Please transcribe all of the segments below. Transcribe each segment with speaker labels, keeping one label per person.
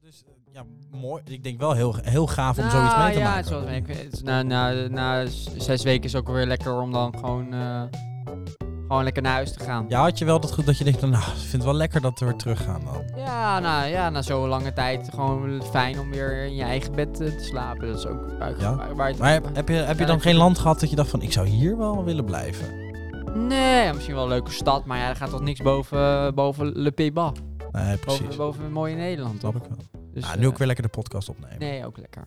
Speaker 1: Dus eh, ja, mooi. Ik denk wel heel, heel gaaf om zoiets mee te
Speaker 2: Nou, ja,
Speaker 1: maken.
Speaker 2: Het is wel, ik, het is- na, na, na s- zes weken is het ook weer lekker om dan gewoon, eh, gewoon lekker naar huis te gaan.
Speaker 1: ja, had je wel dat goed dat je denkt, nou, ik vind het wel lekker dat we weer teruggaan dan.
Speaker 2: Ja, nou, ja, na zo'n lange tijd gewoon fijn om weer in je eigen bed eh, te slapen. Dat is ook waar,
Speaker 1: Ja.
Speaker 2: waar, waar het-
Speaker 1: Maar heb, heb je, heb je
Speaker 2: Ja,
Speaker 1: dan
Speaker 2: ik-
Speaker 1: geen land gehad dat je dacht van, ik zou hier wel willen blijven?
Speaker 2: Nee, misschien wel een leuke stad, maar ja, er gaat toch niks boven, eh, boven Le Pays Bas.
Speaker 1: Nee,
Speaker 2: Boven,
Speaker 1: precies.
Speaker 2: boven mooie Nederland, toch?
Speaker 1: Snap ik wel.
Speaker 2: Dus,
Speaker 1: Nou,
Speaker 2: eh,
Speaker 1: nu ook weer lekker de podcast opnemen.
Speaker 2: Nee, ook lekker.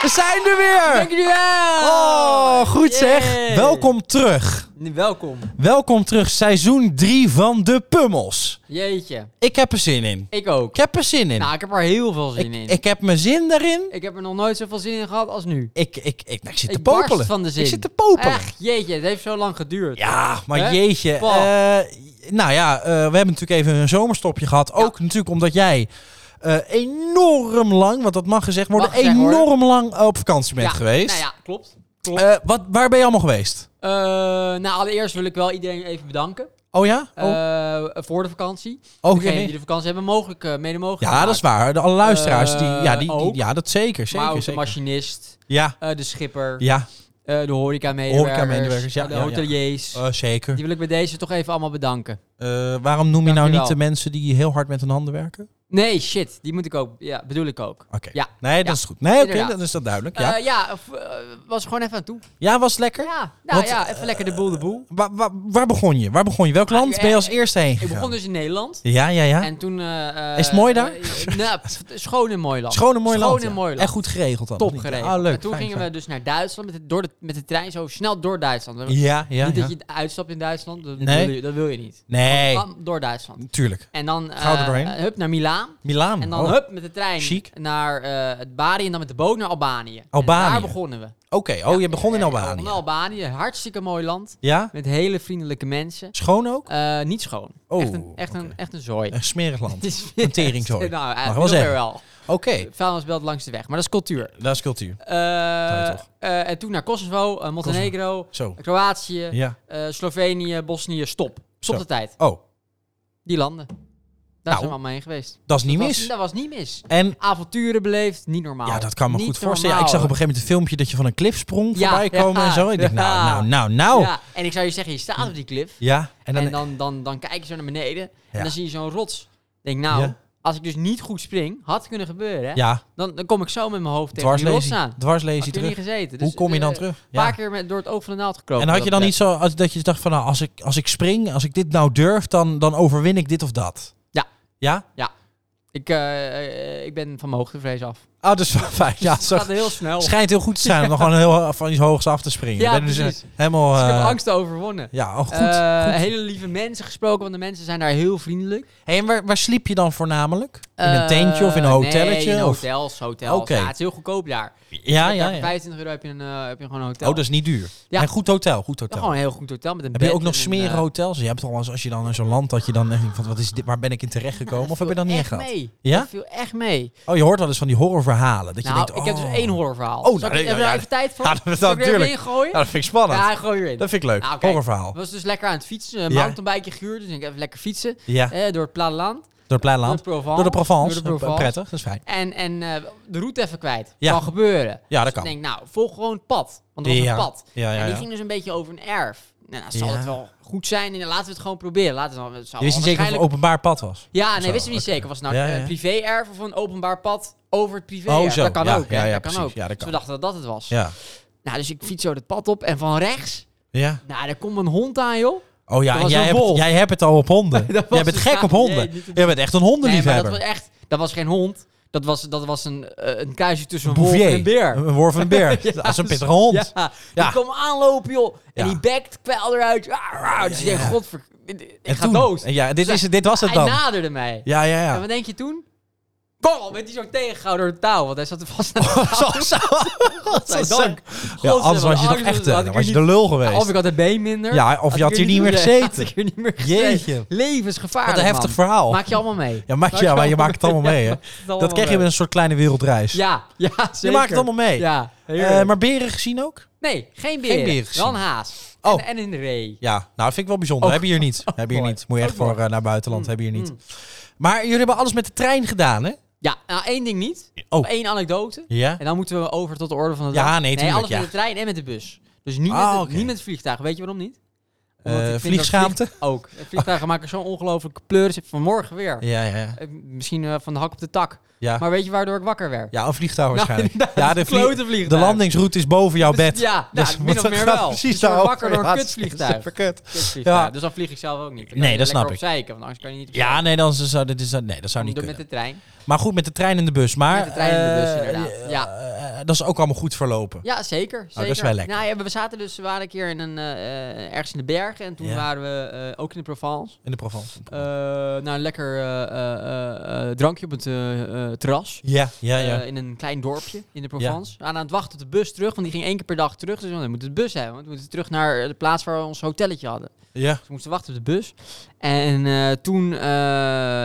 Speaker 1: We zijn er weer!
Speaker 2: Dankjewel!
Speaker 1: Oh, goed zeg.
Speaker 2: Yay.
Speaker 1: Welkom terug.
Speaker 2: Welkom.
Speaker 1: Welkom terug, seizoen 3 van De Pummels.
Speaker 2: Jeetje.
Speaker 1: Ik heb er zin in.
Speaker 2: Ik ook.
Speaker 1: Ik heb er zin in.
Speaker 2: Nou, ik heb er heel veel zin in.
Speaker 1: ik, ik heb mijn zin daarin.
Speaker 2: Ik heb er nog nooit zoveel zin in gehad als nu.
Speaker 1: Ik, ik, ik, nou, ik zit te
Speaker 2: Ik barst
Speaker 1: popelen.
Speaker 2: van de zin.
Speaker 1: Ik zit te popelen.
Speaker 2: Echt, jeetje, het heeft zo lang geduurd.
Speaker 1: Ja, maar
Speaker 2: Hè?
Speaker 1: jeetje.
Speaker 2: Paul.
Speaker 1: eh, nou ja, eh, we hebben natuurlijk even een zomerstopje gehad. Ook natuurlijk omdat jij eh, enorm lang, want dat mag gezegd worden,
Speaker 2: Mag gezegd worden.
Speaker 1: enorm lang op vakantie bent
Speaker 2: Ja,
Speaker 1: geweest.
Speaker 2: Nou ja, klopt.
Speaker 1: Eh, wat, waar ben je allemaal geweest?
Speaker 2: Eh, nou, allereerst wil ik wel iedereen even bedanken
Speaker 1: Oh ja? Oh,
Speaker 2: eh, voor de vakantie.
Speaker 1: oké.
Speaker 2: Degenen die de vakantie hebben mogelijk, eh, mede mogelijk
Speaker 1: Ja, dat is waar. De, alle luisteraars, die, ja, die, die-
Speaker 2: Eh, ook.
Speaker 1: ja, dat zeker. zeker,
Speaker 2: Maar ook
Speaker 1: zeker.
Speaker 2: de machinist,
Speaker 1: Ja,
Speaker 2: eh, de schipper,
Speaker 1: ja
Speaker 2: eh, de horeca-medewerkers,
Speaker 1: Horeca-medewerkers, ja,
Speaker 2: eh, de
Speaker 1: ja, ja.
Speaker 2: hoteliers.
Speaker 1: eh, zeker.
Speaker 2: Die wil ik bij deze toch even allemaal bedanken.
Speaker 1: Eh, waarom noem je nou
Speaker 2: Dankjewel.
Speaker 1: niet de mensen die heel hard met hun handen werken?
Speaker 2: Nee, shit, die moet ik ook, ja, bedoel ik ook.
Speaker 1: Oké.
Speaker 2: Ja,
Speaker 1: Nee, dat
Speaker 2: ja.
Speaker 1: is goed. Nee, oké,
Speaker 2: Inderdaad.
Speaker 1: dan is dat duidelijk. Ja,
Speaker 2: Ja, ja of, eh, was er gewoon even aan toe.
Speaker 1: ja was het lekker?
Speaker 2: Ja, nou
Speaker 1: Wat,
Speaker 2: ja, even lekker de boel de boel.
Speaker 1: Wa- wa- waar begon je? Waar begon je? Welk
Speaker 2: Nou,
Speaker 1: land
Speaker 2: ik-
Speaker 1: ben je als eerste heen
Speaker 2: Ik
Speaker 1: gegaan?
Speaker 2: begon dus in Nederland.
Speaker 1: Ja, ja, ja.
Speaker 2: En toen... eh, eh,
Speaker 1: Is het mooi daar?
Speaker 2: eh, nou, pff, schoon en mooi land.
Speaker 1: Schoon en mooi
Speaker 2: Schoon
Speaker 1: land.
Speaker 2: en
Speaker 1: ja.
Speaker 2: mooi land.
Speaker 1: En goed geregeld dan.
Speaker 2: Top
Speaker 1: of niet?
Speaker 2: gereden.
Speaker 1: Ah, leuk.
Speaker 2: en toen
Speaker 1: Fijn,
Speaker 2: gingen
Speaker 1: fijn.
Speaker 2: we dus naar Duitsland met de, door de, met de trein, zo snel door Duitsland.
Speaker 1: Ja, ja,
Speaker 2: niet
Speaker 1: ja.
Speaker 2: dat je uitstapt in Duitsland, dat,
Speaker 1: Nee.
Speaker 2: wil, je, dat wil je niet.
Speaker 1: Nee,
Speaker 2: Bam, Door Duitsland.
Speaker 1: tuurlijk.
Speaker 2: En dan
Speaker 1: Gauw er
Speaker 2: eh,
Speaker 1: doorheen.
Speaker 2: hup naar Milaan.
Speaker 1: Milaan.
Speaker 2: En dan
Speaker 1: oh. Oké,
Speaker 2: hup met de trein
Speaker 1: Chic.
Speaker 2: naar eh, het Bari en dan met de boot naar Albanië. En
Speaker 1: Albanië.
Speaker 2: daar begonnen we.
Speaker 1: oh, je begon in
Speaker 2: Eh,
Speaker 1: Albanië.
Speaker 2: begonnen Albanië, hartstikke mooi land.
Speaker 1: Ja?
Speaker 2: Met hele vriendelijke mensen.
Speaker 1: Schoon ook?
Speaker 2: Eh, niet schoon.
Speaker 1: Oh,
Speaker 2: echt, een, echt,
Speaker 1: oké.
Speaker 2: een, echt een zooi.
Speaker 1: Een smerig land.
Speaker 2: Het is
Speaker 1: Een teringzooi.
Speaker 2: nou,
Speaker 1: Mag
Speaker 2: eh,
Speaker 1: wel
Speaker 2: dat
Speaker 1: zeggen.
Speaker 2: weer wel.
Speaker 1: Oké,
Speaker 2: Vuilnisbelt langs de weg. Maar dat is cultuur.
Speaker 1: dat is cultuur.
Speaker 2: Eh,
Speaker 1: je toch.
Speaker 2: eh, en toen naar Kosovo, eh, Montenegro,
Speaker 1: Zo.
Speaker 2: Kroatië,
Speaker 1: Ja.
Speaker 2: eh, Slovenië, Bosnië. Stop. Stop
Speaker 1: Zo.
Speaker 2: de tijd.
Speaker 1: Oh,
Speaker 2: Die landen. Daar
Speaker 1: Nou,
Speaker 2: zijn we allemaal heen geweest.
Speaker 1: dat is niet
Speaker 2: dat
Speaker 1: mis.
Speaker 2: Was, dat was niet mis.
Speaker 1: En
Speaker 2: Avonturen beleefd, niet normaal.
Speaker 1: ja, dat kan me
Speaker 2: Niet
Speaker 1: goed voorstellen. Ja, ik zag op een
Speaker 2: normaal.
Speaker 1: gegeven moment een filmpje dat je van een klif sprong
Speaker 2: Ja,
Speaker 1: voorbij komen
Speaker 2: ja,
Speaker 1: en zo. Ik dacht, nou,
Speaker 2: ja.
Speaker 1: nou, nou, nou. Ja,
Speaker 2: Ja, en ik zou je zeggen, je staat op die cliff.
Speaker 1: en
Speaker 2: En dan,
Speaker 1: dan...
Speaker 2: dan, dan, kijk je zo naar beneden.
Speaker 1: Ja.
Speaker 2: En dan zie je zo'n rots. Denk nou,
Speaker 1: Ja.
Speaker 2: als ik dus niet goed spring, had kunnen gebeuren. Hè?
Speaker 1: Ja,
Speaker 2: Dan, dan kom ik zo met mijn hoofd tegen die rots aan.
Speaker 1: dwarslesie. Dwarslesie
Speaker 2: Had ik er niet
Speaker 1: terug.
Speaker 2: gezeten. Dus,
Speaker 1: Hoe kom je dan
Speaker 2: eh,
Speaker 1: terug?
Speaker 2: Een paar
Speaker 1: Ja.
Speaker 2: keer met, door het oog van de naald gekropen.
Speaker 1: En had je
Speaker 2: wat
Speaker 1: dan
Speaker 2: dat
Speaker 1: niet zo als, dat je dacht van nou, als ik, als ik spring, als ik dit nou durf, dan, dan overwin ik dit of dat?
Speaker 2: Ja.
Speaker 1: Ja?
Speaker 2: Ik, eh, eh, ik ben van mijn hoogtevrees af.
Speaker 1: Oh, dat is wel fijn. Ja,
Speaker 2: het
Speaker 1: zo,
Speaker 2: gaat heel snel.
Speaker 1: schijnt heel goed te zijn om dan gewoon heel, van iets hoogs af te springen.
Speaker 2: Ja,
Speaker 1: Ik ben dus, eh,
Speaker 2: precies.
Speaker 1: helemaal...
Speaker 2: Dus ik heb
Speaker 1: eh,
Speaker 2: angsten overwonnen.
Speaker 1: Ja, oh, goed.
Speaker 2: Eh,
Speaker 1: goed.
Speaker 2: Hele lieve mensen gesproken, want de mensen zijn daar heel vriendelijk.
Speaker 1: Hey, en waar, waar sliep je dan voornamelijk? In een
Speaker 2: Eh,
Speaker 1: tentje of in een hotelletje?
Speaker 2: Nee, in
Speaker 1: of?
Speaker 2: hotels, hotels.
Speaker 1: Oké.
Speaker 2: Ja, het is heel goedkoop daar.
Speaker 1: Ja,
Speaker 2: Daar
Speaker 1: ja,
Speaker 2: voor
Speaker 1: ja.
Speaker 2: 25 euro heb je, een, eh, heb je gewoon een hotel.
Speaker 1: Oh, dat is niet duur.
Speaker 2: Ja.
Speaker 1: En goed hotel, goed
Speaker 2: Ja,
Speaker 1: hotel.
Speaker 2: Gewoon een heel goed hotel met een
Speaker 1: heb
Speaker 2: bed
Speaker 1: je ook nog
Speaker 2: en een,
Speaker 1: smerige
Speaker 2: eh,
Speaker 1: hotels? Je hebt toch wel eens, als je dan in zo'n land dat je dan echt denkt van, wat is dit, waar ben ik in terecht gekomen? Of heb je
Speaker 2: viel
Speaker 1: dat niet
Speaker 2: echt
Speaker 1: echt gehad?
Speaker 2: mee.
Speaker 1: Ja?
Speaker 2: Dat viel echt mee.
Speaker 1: Oh, je hoort wel eens van die horrorverhalen. Dat je
Speaker 2: nou,
Speaker 1: denkt,
Speaker 2: ik heb dus
Speaker 1: oh.
Speaker 2: één horrorverhaal.
Speaker 1: Oh,
Speaker 2: Zal
Speaker 1: nou,
Speaker 2: ik
Speaker 1: nee,
Speaker 2: er
Speaker 1: ja,
Speaker 2: even tijd voor?
Speaker 1: Ja, dat-
Speaker 2: Zal ik er even
Speaker 1: natuurlijk.
Speaker 2: in gooien?
Speaker 1: Ja, Nou, dat vind ik spannend.
Speaker 2: Ja, gooi erin.
Speaker 1: Dat vind ik leuk.
Speaker 2: Nou, oké.
Speaker 1: Horrorverhaal.
Speaker 2: was dus lekker aan het fietsen. Een
Speaker 1: Ja.
Speaker 2: mountainbikeje gehuurd. Dus ik even lekker fietsen.
Speaker 1: Ja,
Speaker 2: eh, door het Plaland.
Speaker 1: door Pleiland.
Speaker 2: Door, Provence,
Speaker 1: Door de Provence.
Speaker 2: Door de Provence.
Speaker 1: Eh, Prettig, dat is fijn.
Speaker 2: En, en eh, de route even kwijt.
Speaker 1: Ja.
Speaker 2: Kan gebeuren.
Speaker 1: Ja, dat
Speaker 2: Dus ik
Speaker 1: kan.
Speaker 2: denk, nou, volg gewoon het pad. Want dat was
Speaker 1: Ja.
Speaker 2: een pad.
Speaker 1: Ja, ja,
Speaker 2: en die
Speaker 1: ja.
Speaker 2: ging dus een beetje over een erf. Nou, nou, zal
Speaker 1: Ja.
Speaker 2: het wel goed zijn? En laten we het gewoon proberen. Laten we het, het zou
Speaker 1: Je wist niet
Speaker 2: wel
Speaker 1: zeker of het
Speaker 2: waarschijnlijk-
Speaker 1: een openbaar pad was.
Speaker 2: Ja, nee,
Speaker 1: zo,
Speaker 2: wisten we niet
Speaker 1: oké.
Speaker 2: zeker. Was het nou
Speaker 1: Ja,
Speaker 2: een
Speaker 1: ja, ja.
Speaker 2: privé-erf of een openbaar pad over het privé
Speaker 1: Oh, zo.
Speaker 2: Dat kan
Speaker 1: Ja,
Speaker 2: ook, hè?
Speaker 1: ja, ja,
Speaker 2: dat kan
Speaker 1: precies.
Speaker 2: ook.
Speaker 1: Ja, dat
Speaker 2: Dus we
Speaker 1: kan.
Speaker 2: dachten dat dat het was.
Speaker 1: Ja.
Speaker 2: Nou, dus ik fiets zo het pad op. En van rechts,
Speaker 1: Ja.
Speaker 2: nou, daar komt een hond aan, joh.
Speaker 1: Oh ja,
Speaker 2: Dat
Speaker 1: en
Speaker 2: was
Speaker 1: jij
Speaker 2: een
Speaker 1: hebt,
Speaker 2: wolf.
Speaker 1: jij hebt het al op honden.
Speaker 2: Dat was
Speaker 1: jij bent
Speaker 2: een
Speaker 1: gek op
Speaker 2: schaap.
Speaker 1: honden.
Speaker 2: Nee, niet-
Speaker 1: jij bent echt een
Speaker 2: Nee, maar dat
Speaker 1: hondenliefhebber.
Speaker 2: was echt... Dat was geen hond. Dat was, dat was een, eh, een kruisje tussen een wolf
Speaker 1: Bouvier.
Speaker 2: en een beer.
Speaker 1: Een worf en een beer.
Speaker 2: Ja, dus
Speaker 1: dat is een pittige hond.
Speaker 2: Ja,
Speaker 1: Ja.
Speaker 2: die kwam aanlopen, joh. En
Speaker 1: Ja.
Speaker 2: die bekt, pijl eruit. Ah, ah, dus je denkt,
Speaker 1: ja.
Speaker 2: godver... Ik, ik
Speaker 1: En
Speaker 2: ga
Speaker 1: toen-
Speaker 2: dood.
Speaker 1: en Ja, dit,
Speaker 2: Dus
Speaker 1: is, het- dit was het
Speaker 2: hij
Speaker 1: dan.
Speaker 2: naderde mij.
Speaker 1: Ja, ja,
Speaker 2: En
Speaker 1: ja.
Speaker 2: wat denk je toen? Bam, werd hij zo tegengehouden door de touw. Want hij zat er vast aan de touw.
Speaker 1: Zo, zo.
Speaker 2: Godzijdank.
Speaker 1: Ja, anders was je
Speaker 2: Godzijdank,
Speaker 1: toch
Speaker 2: anders
Speaker 1: echt...
Speaker 2: had ik
Speaker 1: eh, Dan was je
Speaker 2: er
Speaker 1: de
Speaker 2: niet-
Speaker 1: lul
Speaker 2: Of
Speaker 1: geweest.
Speaker 2: ik had het been minder.
Speaker 1: Ja, of je had
Speaker 2: ik
Speaker 1: hier niet meer
Speaker 2: Had
Speaker 1: gezeten.
Speaker 2: ik hier niet meer gezeten.
Speaker 1: Jeetje.
Speaker 2: Levensgevaarlijk,
Speaker 1: Wat een heftig
Speaker 2: man.
Speaker 1: verhaal.
Speaker 2: Maak je allemaal mee.
Speaker 1: Ja, maakt ja, maar je maakt het allemaal mee, hè. Dat
Speaker 2: kreeg
Speaker 1: kreeg je met een soort kleine wereldreis.
Speaker 2: Ja, ja, zeker.
Speaker 1: Je maakt het allemaal mee.
Speaker 2: Ja,
Speaker 1: Eh,
Speaker 2: heerlijk.
Speaker 1: maar beren gezien ook?
Speaker 2: Nee, geen beren.
Speaker 1: Geen beren gezien.
Speaker 2: Wel een haas.
Speaker 1: Oh.
Speaker 2: En, en een ree.
Speaker 1: Ja, nou, dat vind ik wel bijzonder.
Speaker 2: Ook-
Speaker 1: Hebben hier niet. Hebben hier
Speaker 2: Oh. mooi.
Speaker 1: niet. Moet je echt
Speaker 2: Ook mooi.
Speaker 1: voor eh, naar buitenland. Hebben hier niet.
Speaker 2: Mm.
Speaker 1: Maar jullie hebben alles met de trein gedaan, hè? Eh,
Speaker 2: Ja, nou één ding niet.
Speaker 1: Oh.
Speaker 2: Eén anekdote.
Speaker 1: Ja?
Speaker 2: En dan moeten we over tot de orde van de
Speaker 1: Ja,
Speaker 2: dag.
Speaker 1: nee, tuurlijk,
Speaker 2: alles
Speaker 1: ja.
Speaker 2: met de trein en met de bus. Dus niet,
Speaker 1: Ah,
Speaker 2: met, het-
Speaker 1: oké.
Speaker 2: niet met het vliegtuig. Weet je waarom niet? Omdat ik
Speaker 1: Eh
Speaker 2: vind dat
Speaker 1: vliegschaamte?
Speaker 2: vlieg- Ook. Eh, Vliegtuigen maken zo'n ongelooflijke pleurs. Vanmorgen weer.
Speaker 1: Ja, ja, ja.
Speaker 2: Eh, Misschien eh, van de hak op de tak.
Speaker 1: Ja,
Speaker 2: Maar weet je waardoor ik wakker werd?
Speaker 1: ja een vliegtuig waarschijnlijk.
Speaker 2: inderdaad,
Speaker 1: ja, de,
Speaker 2: een
Speaker 1: vlie-
Speaker 2: klote vliegtuig.
Speaker 1: de landingsroute is boven jouw
Speaker 2: Dus-
Speaker 1: bed.
Speaker 2: Ja, nou,
Speaker 1: Dus-
Speaker 2: min of
Speaker 1: dat
Speaker 2: meer
Speaker 1: gaat
Speaker 2: wel.
Speaker 1: Precies
Speaker 2: Dus je wordt
Speaker 1: daarover.
Speaker 2: wakker door
Speaker 1: Ja,
Speaker 2: een
Speaker 1: het is
Speaker 2: kutvliegtuig.
Speaker 1: super kut.
Speaker 2: Kutvliegtuig.
Speaker 1: Ja.
Speaker 2: Dus dan vlieg ik zelf ook niet. Dan
Speaker 1: Nee,
Speaker 2: kan je
Speaker 1: dat
Speaker 2: lekker
Speaker 1: snap ik.
Speaker 2: opzeiken, want anders kan je niet opzeiken.
Speaker 1: Ja, nee, dan zou, dit is, nee, dat zou
Speaker 2: Dan
Speaker 1: niet
Speaker 2: doe ik
Speaker 1: kunnen.
Speaker 2: met de trein.
Speaker 1: Maar goed, met de trein en de bus. Maar,
Speaker 2: Met de trein en de bus,
Speaker 1: eh,
Speaker 2: inderdaad. Ja.
Speaker 1: eh, dat is ook allemaal goed verlopen.
Speaker 2: Ja, zeker. zeker.
Speaker 1: Oh, dat is wel lekker.
Speaker 2: Nou, ja, we zaten dus, we waren een keer in een, eh, eh, ergens in de bergen. En toen
Speaker 1: Ja.
Speaker 2: waren we eh, ook in de Provence.
Speaker 1: In de Provence.
Speaker 2: Eh nou, een lekker eh, eh, eh, drankje op het eh, eh, terras.
Speaker 1: ja, ja, ja.
Speaker 2: Eh, in een klein dorpje in de Provence. Aan aan het wachten op de bus terug, want die ging één keer per dag terug. Dus we moeten de bus hebben, want we moeten terug naar de plaats waar we ons hotelletje hadden.
Speaker 1: ja.
Speaker 2: Dus we moesten wachten op de bus. En eh, toen eh,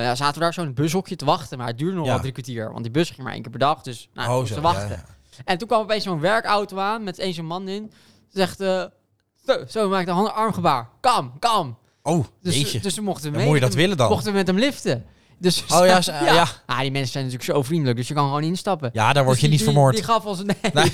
Speaker 2: ja, zaten we daar zo in het bushokje te wachten. Maar het duurde nog
Speaker 1: Ja.
Speaker 2: wel drie kwartier. Want die bus ging maar één keer per dag. Dus nou, we
Speaker 1: Oh,
Speaker 2: moesten
Speaker 1: zo,
Speaker 2: wachten.
Speaker 1: ja, ja.
Speaker 2: En toen kwam opeens zo'n werkauto aan met eens een man in. Zegt, eh, zo, zo maakt een hand- armgebaar. Kam, kam.
Speaker 1: Oh,
Speaker 2: Dus,
Speaker 1: jeetje.
Speaker 2: dus we mochten
Speaker 1: Dan
Speaker 2: mee.
Speaker 1: moet je dat willen dan.
Speaker 2: Mochten we met hem liften. Dus
Speaker 1: Oh ja, ze- ja.
Speaker 2: Ah, die mensen zijn natuurlijk zo vriendelijk, dus je kan gewoon instappen.
Speaker 1: Ja, daar word
Speaker 2: Dus
Speaker 1: je
Speaker 2: die-
Speaker 1: niet
Speaker 2: die-
Speaker 1: vermoord.
Speaker 2: Die gaf ons, nee,
Speaker 1: Nee.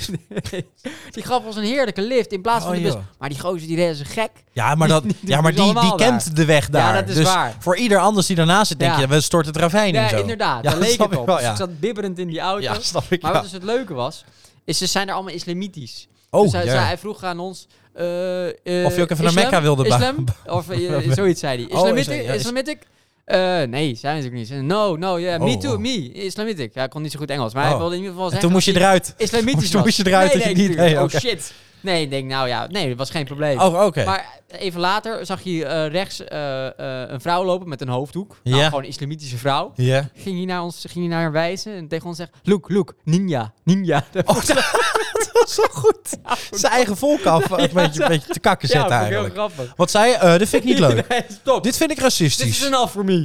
Speaker 2: nee. die gaf ons een heerlijke lift in plaats van
Speaker 1: Oh,
Speaker 2: de bus.
Speaker 1: joh.
Speaker 2: Maar die gozer die reed ze gek.
Speaker 1: Ja, maar, dat, ja,
Speaker 2: doen
Speaker 1: maar
Speaker 2: ze
Speaker 1: die, die
Speaker 2: allemaal daar.
Speaker 1: kent de weg daar.
Speaker 2: dat is
Speaker 1: dus
Speaker 2: waar.
Speaker 1: voor ieder anders die daarnaast zit, denk
Speaker 2: Ja.
Speaker 1: je, we storten het ravijn in
Speaker 2: Ja,
Speaker 1: zo.
Speaker 2: inderdaad.
Speaker 1: Ja,
Speaker 2: daar
Speaker 1: dat
Speaker 2: leek
Speaker 1: snap
Speaker 2: het
Speaker 1: ik
Speaker 2: op.
Speaker 1: wel,
Speaker 2: Dus
Speaker 1: ja.
Speaker 2: ik zat bibberend in die auto.
Speaker 1: Ja, snap ik.
Speaker 2: Maar
Speaker 1: ja.
Speaker 2: wat dus het leuke was, is ze zijn er allemaal islamietisch.
Speaker 1: Oh,
Speaker 2: dus hij,
Speaker 1: ja.
Speaker 2: zei- hij vroeg aan ons... eh, eh,
Speaker 1: Of je ook even naar
Speaker 2: islam?
Speaker 1: Mekka wilde ba-
Speaker 2: Islam? Of eh, zoiets zei hij.
Speaker 1: Oh, is-
Speaker 2: Islamitic?
Speaker 1: ja, is-
Speaker 2: Islamitic? Eh, nee, zei hij natuurlijk niet. Ze zei, No, no, yeah, me
Speaker 1: Oh,
Speaker 2: too,
Speaker 1: oh.
Speaker 2: me, Islamitic. Ja, hij kon niet zo goed Engels, maar
Speaker 1: Oh.
Speaker 2: hij wilde in ieder geval
Speaker 1: en
Speaker 2: zeggen...
Speaker 1: toen moest je
Speaker 2: dat hij
Speaker 1: eruit.
Speaker 2: Islamitisch
Speaker 1: toen
Speaker 2: was.
Speaker 1: moest je eruit
Speaker 2: nee,
Speaker 1: dat je
Speaker 2: nee,
Speaker 1: niet- nee,
Speaker 2: natuurlijk. Oh,
Speaker 1: oké.
Speaker 2: shit. Nee, ik denk, nou ja, nee, dat was geen probleem.
Speaker 1: Oh, oké.
Speaker 2: Maar even later zag je eh, rechts eh, eh, een vrouw lopen met een hoofddoek. Nou,
Speaker 1: Ja.
Speaker 2: Gewoon een islamitische vrouw
Speaker 1: Ja.
Speaker 2: ging hij naar ons ging hij naar haar wijzen en tegen ons zegt: Look, look, ninja, ninja.
Speaker 1: Oh, dat was zo goed. Zijn eigen volk af een beetje, een beetje te kakken zetten
Speaker 2: vond ik heel
Speaker 1: eigenlijk.
Speaker 2: grappig.
Speaker 1: Wat zei je? Eh, dat vind ik niet leuk.
Speaker 2: Nee, stop. Dit,
Speaker 1: Dit vind ik
Speaker 2: is
Speaker 1: racistisch.
Speaker 2: enough voor me.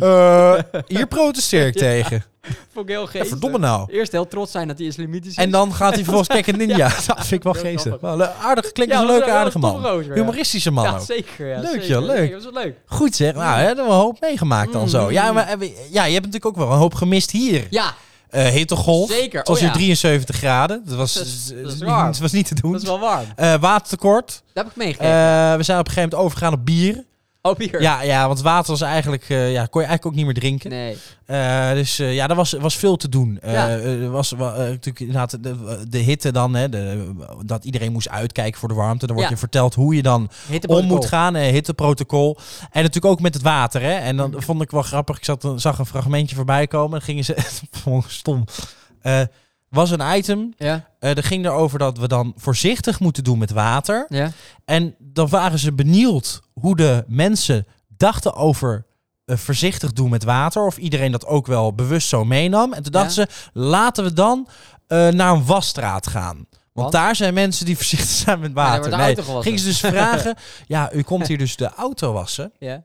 Speaker 1: Eh, hier protesteer ik tegen.
Speaker 2: vond ik heel geestig.
Speaker 1: Ja, verdomme nou.
Speaker 2: Eerst heel trots zijn dat hij islamitisch is.
Speaker 1: En dan gaat hij vervolgens kijken ninja. Dat vind ik wel
Speaker 2: Heel
Speaker 1: geestig.
Speaker 2: grappig.
Speaker 1: Wel, eh, aardig, klinkt als
Speaker 2: Ja,
Speaker 1: een
Speaker 2: was
Speaker 1: leuke
Speaker 2: wel
Speaker 1: aardige
Speaker 2: een toffe
Speaker 1: man.
Speaker 2: gozer, ja.
Speaker 1: Humoristische man
Speaker 2: ja,
Speaker 1: ook.
Speaker 2: zeker. Ja,
Speaker 1: Leuk,
Speaker 2: zeker.
Speaker 1: joh, leuk.
Speaker 2: Dat was wel leuk.
Speaker 1: Goed zeg. Nou, hè, hebben we een hoop meegemaakt dan
Speaker 2: Mm.
Speaker 1: zo. Ja, maar, eh, we- ja, je hebt natuurlijk ook wel een hoop gemist hier.
Speaker 2: Ja,
Speaker 1: Eh hittegolf.
Speaker 2: Zeker,
Speaker 1: Het was
Speaker 2: oh
Speaker 1: hier
Speaker 2: ja.
Speaker 1: 73 graden. Dat was,
Speaker 2: Dat
Speaker 1: is-
Speaker 2: dat is
Speaker 1: is
Speaker 2: waar.
Speaker 1: niet, was niet te doen.
Speaker 2: dat is wel warm.
Speaker 1: Eh, watertekort.
Speaker 2: Dat heb ik
Speaker 1: Eh,
Speaker 2: meegekregen.
Speaker 1: we zijn op een gegeven moment overgegaan op bier.
Speaker 2: oh, hier.
Speaker 1: Eh, Ja, ja want water was eigenlijk, eh, ja, kon je eigenlijk ook niet meer drinken.
Speaker 2: Nee.
Speaker 1: Eh, dus eh, ja, er was, was veel te doen. Eh,
Speaker 2: Ja.
Speaker 1: eh, er was wa- eh, natuurlijk inderdaad de, de hitte dan. Hè, de, dat iedereen moest uitkijken voor de warmte. Dan wordt
Speaker 2: Ja.
Speaker 1: je verteld hoe je dan om moet gaan. eh, hitteprotocol. En natuurlijk ook met het water. Hè. En dan
Speaker 2: Mm.
Speaker 1: vond ik wel grappig. Ik zat, eh, zag een fragmentje voorbij komen. En gingen ze... vond ik stom. Eh, was een item.
Speaker 2: Ja,
Speaker 1: eh er ging erover dat we dan voorzichtig moeten doen met water.
Speaker 2: ja.
Speaker 1: En dan waren ze benieuwd hoe de mensen dachten over eh, voorzichtig doen met water. Of iedereen dat ook wel bewust zo meenam. En toen
Speaker 2: Ja.
Speaker 1: dachten ze, laten we dan eh, naar een wasstraat gaan. Want
Speaker 2: Want?
Speaker 1: daar zijn mensen die voorzichtig zijn met
Speaker 2: daar
Speaker 1: water.
Speaker 2: wordt de auto gewassen.
Speaker 1: Gingen ze dus vragen, ja, u komt hier dus de auto wassen.
Speaker 2: ja.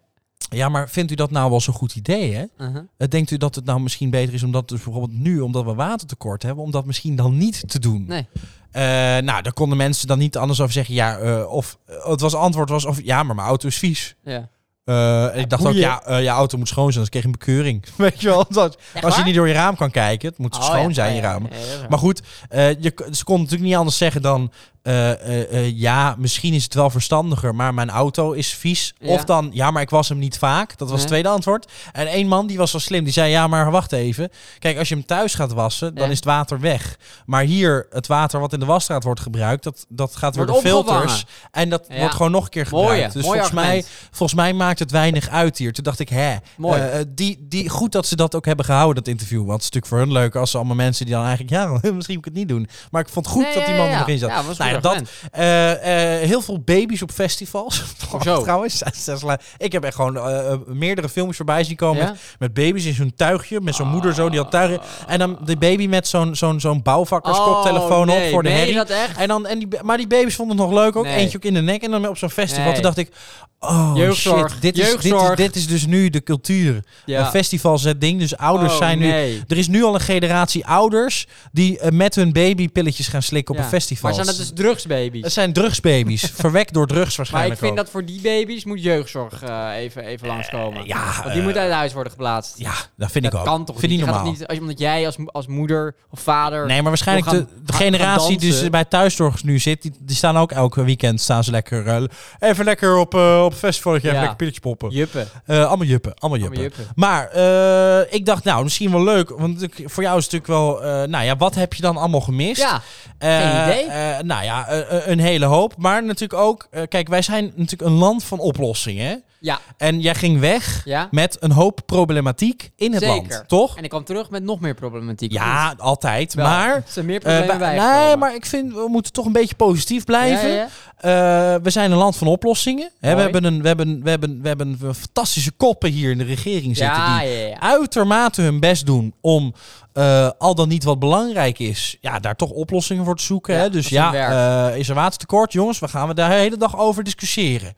Speaker 1: Ja, maar vindt u dat nou wel zo'n goed idee, hè?
Speaker 2: Uh-huh.
Speaker 1: Eh, Denkt u dat het nou misschien beter is om dat dus bijvoorbeeld nu, omdat we watertekort hebben, om dat misschien dan niet te doen?
Speaker 2: Nee.
Speaker 1: Eh, nou, daar konden mensen dan niet anders over zeggen. Ja, eh, of eh, het was antwoord was of ja, maar mijn auto is vies.
Speaker 2: Ja.
Speaker 1: Eh, en ik dacht ook,
Speaker 2: boeien.
Speaker 1: ja, eh, je auto moet schoon zijn, anders kreeg je een bekeuring. Weet je wel, dat, als je
Speaker 2: waar?
Speaker 1: niet door je raam kan kijken, het moet
Speaker 2: Oh,
Speaker 1: schoon
Speaker 2: ja,
Speaker 1: zijn,
Speaker 2: ja,
Speaker 1: je
Speaker 2: ja,
Speaker 1: raam.
Speaker 2: ja, ja, dat is waar.
Speaker 1: Maar goed, eh, je, ze konden natuurlijk niet anders zeggen dan... eh, eh, eh, eh, ja, misschien is het wel verstandiger, maar mijn auto is vies.
Speaker 2: Ja.
Speaker 1: Of dan, ja, maar ik was hem niet vaak. Dat was het
Speaker 2: Ja.
Speaker 1: tweede antwoord. En één man, die was wel slim, die zei, ja, maar wacht even. Kijk, als je hem thuis gaat wassen, dan
Speaker 2: Ja.
Speaker 1: is het water weg. Maar hier, het water wat in de wasstraat wordt gebruikt, dat, dat gaat weer
Speaker 2: Wordt
Speaker 1: door filters.
Speaker 2: opgevangen.
Speaker 1: En dat
Speaker 2: Ja.
Speaker 1: wordt gewoon nog een keer gebruikt.
Speaker 2: Mooie,
Speaker 1: dus
Speaker 2: mooi
Speaker 1: volgens mij,
Speaker 2: argument.
Speaker 1: volgens mij maakt het weinig uit hier. Toen dacht ik, hè,
Speaker 2: Mooi.
Speaker 1: eh, die, die, goed dat ze dat ook hebben gehouden, dat interview. Want het is natuurlijk voor hun leuk als ze allemaal mensen die dan eigenlijk, ja, misschien moet ik het niet doen. Maar ik vond het goed
Speaker 2: Nee,
Speaker 1: dat die
Speaker 2: ja,
Speaker 1: man
Speaker 2: ja,
Speaker 1: er nog in zat.
Speaker 2: Ja, was
Speaker 1: Nou ja, dat- Eh, eh, heel veel baby's op festivals.
Speaker 2: Hoezo?
Speaker 1: Trouwens, zes la- ik heb echt gewoon eh, eh, meerdere filmpjes voorbij zien komen
Speaker 2: Ja? Ah. Oh.
Speaker 1: met, met baby's in zo'n tuigje, met zo'n moeder zo die had tuigen. En dan de baby met zo'n zo'n zo'n bouwvakkerskoptelefoon op voor de
Speaker 2: Oh, nee,
Speaker 1: herrie.
Speaker 2: dat echt?
Speaker 1: En dan, en die, maar die baby's vonden het nog leuk ook.
Speaker 2: Nee.
Speaker 1: Eentje ook in de nek. En dan op zo'n festival.
Speaker 2: Nee.
Speaker 1: Toen dacht ik, oh
Speaker 2: Jeugdzorg.
Speaker 1: shit, dit is, dit, is,
Speaker 2: Jeugdzorg.
Speaker 1: dit is dus nu de cultuur. Een festival is het ding, dus ouders
Speaker 2: Oh,
Speaker 1: zijn nu...
Speaker 2: nee.
Speaker 1: Er is nu al een generatie ouders die eh, met hun baby pilletjes gaan slikken op
Speaker 2: Ja.
Speaker 1: een festival.
Speaker 2: Maar zijn dat dus drugsbabies?
Speaker 1: Het zijn drugsbabies, verwekt door drugs
Speaker 2: Maar
Speaker 1: waarschijnlijk
Speaker 2: ik vind
Speaker 1: ook.
Speaker 2: dat voor die baby's moet jeugdzorg eh, even, even langskomen.
Speaker 1: ja,
Speaker 2: Want die
Speaker 1: eh,
Speaker 2: moet uit huis worden geplaatst.
Speaker 1: Ja, dat vind ik
Speaker 2: dat
Speaker 1: ook.
Speaker 2: kan toch
Speaker 1: vind
Speaker 2: niet?
Speaker 1: ik
Speaker 2: Je gaat
Speaker 1: normaal.
Speaker 2: het niet als, omdat jij als, mo- als moeder of vader...
Speaker 1: Nee, maar waarschijnlijk
Speaker 2: Wil gaan-
Speaker 1: de, de
Speaker 2: gaan-
Speaker 1: generatie
Speaker 2: gaan
Speaker 1: die
Speaker 2: dansen.
Speaker 1: dus bij thuiszorgers nu zit, die, die staan ook elke weekend staan ze lekker eh, even lekker op, eh op festival, even
Speaker 2: Ja.
Speaker 1: lekker pilletjes poppen.
Speaker 2: Juppen.
Speaker 1: Eh, allemaal juppen, allemaal juppen.
Speaker 2: Allemaal juppen.
Speaker 1: Maar eh, ik dacht, nou, misschien wel leuk. Want ik- voor jou is het natuurlijk wel... eh, nou ja, wat heb je dan allemaal gemist?
Speaker 2: Ja,
Speaker 1: Eh,
Speaker 2: geen idee.
Speaker 1: eh, nou ja, eh, eh, een hele hoop. Maar natuurlijk ook... eh, kijk, wij zijn natuurlijk een land van oplossingen. hè?
Speaker 2: ja,
Speaker 1: En jij ging weg
Speaker 2: ja.
Speaker 1: met een hoop problematiek in het
Speaker 2: Zeker.
Speaker 1: land, toch?
Speaker 2: En ik kwam terug met nog meer problematiek.
Speaker 1: Ja, altijd.
Speaker 2: Wel,
Speaker 1: Maar...
Speaker 2: Er zijn meer
Speaker 1: eh,
Speaker 2: problemen
Speaker 1: wij-
Speaker 2: bij.
Speaker 1: nee, maar ik vind we moeten toch een beetje positief blijven.
Speaker 2: Ja, ja.
Speaker 1: Eh, we zijn een land van oplossingen. Hè, we,
Speaker 2: Mooi.
Speaker 1: hebben een, we, hebben, we, hebben, we hebben een fantastische koppen hier in de regering zitten.
Speaker 2: Ja,
Speaker 1: die
Speaker 2: ja, ja.
Speaker 1: uitermate hun best doen om eh, al dan niet wat belangrijk is, ja, daar toch oplossingen voor te zoeken.
Speaker 2: Ja,
Speaker 1: hè?
Speaker 2: dat
Speaker 1: Dus
Speaker 2: is hun
Speaker 1: ja, eh, is er watertekort? Jongens, we gaan we daar de hele dag over discussiëren.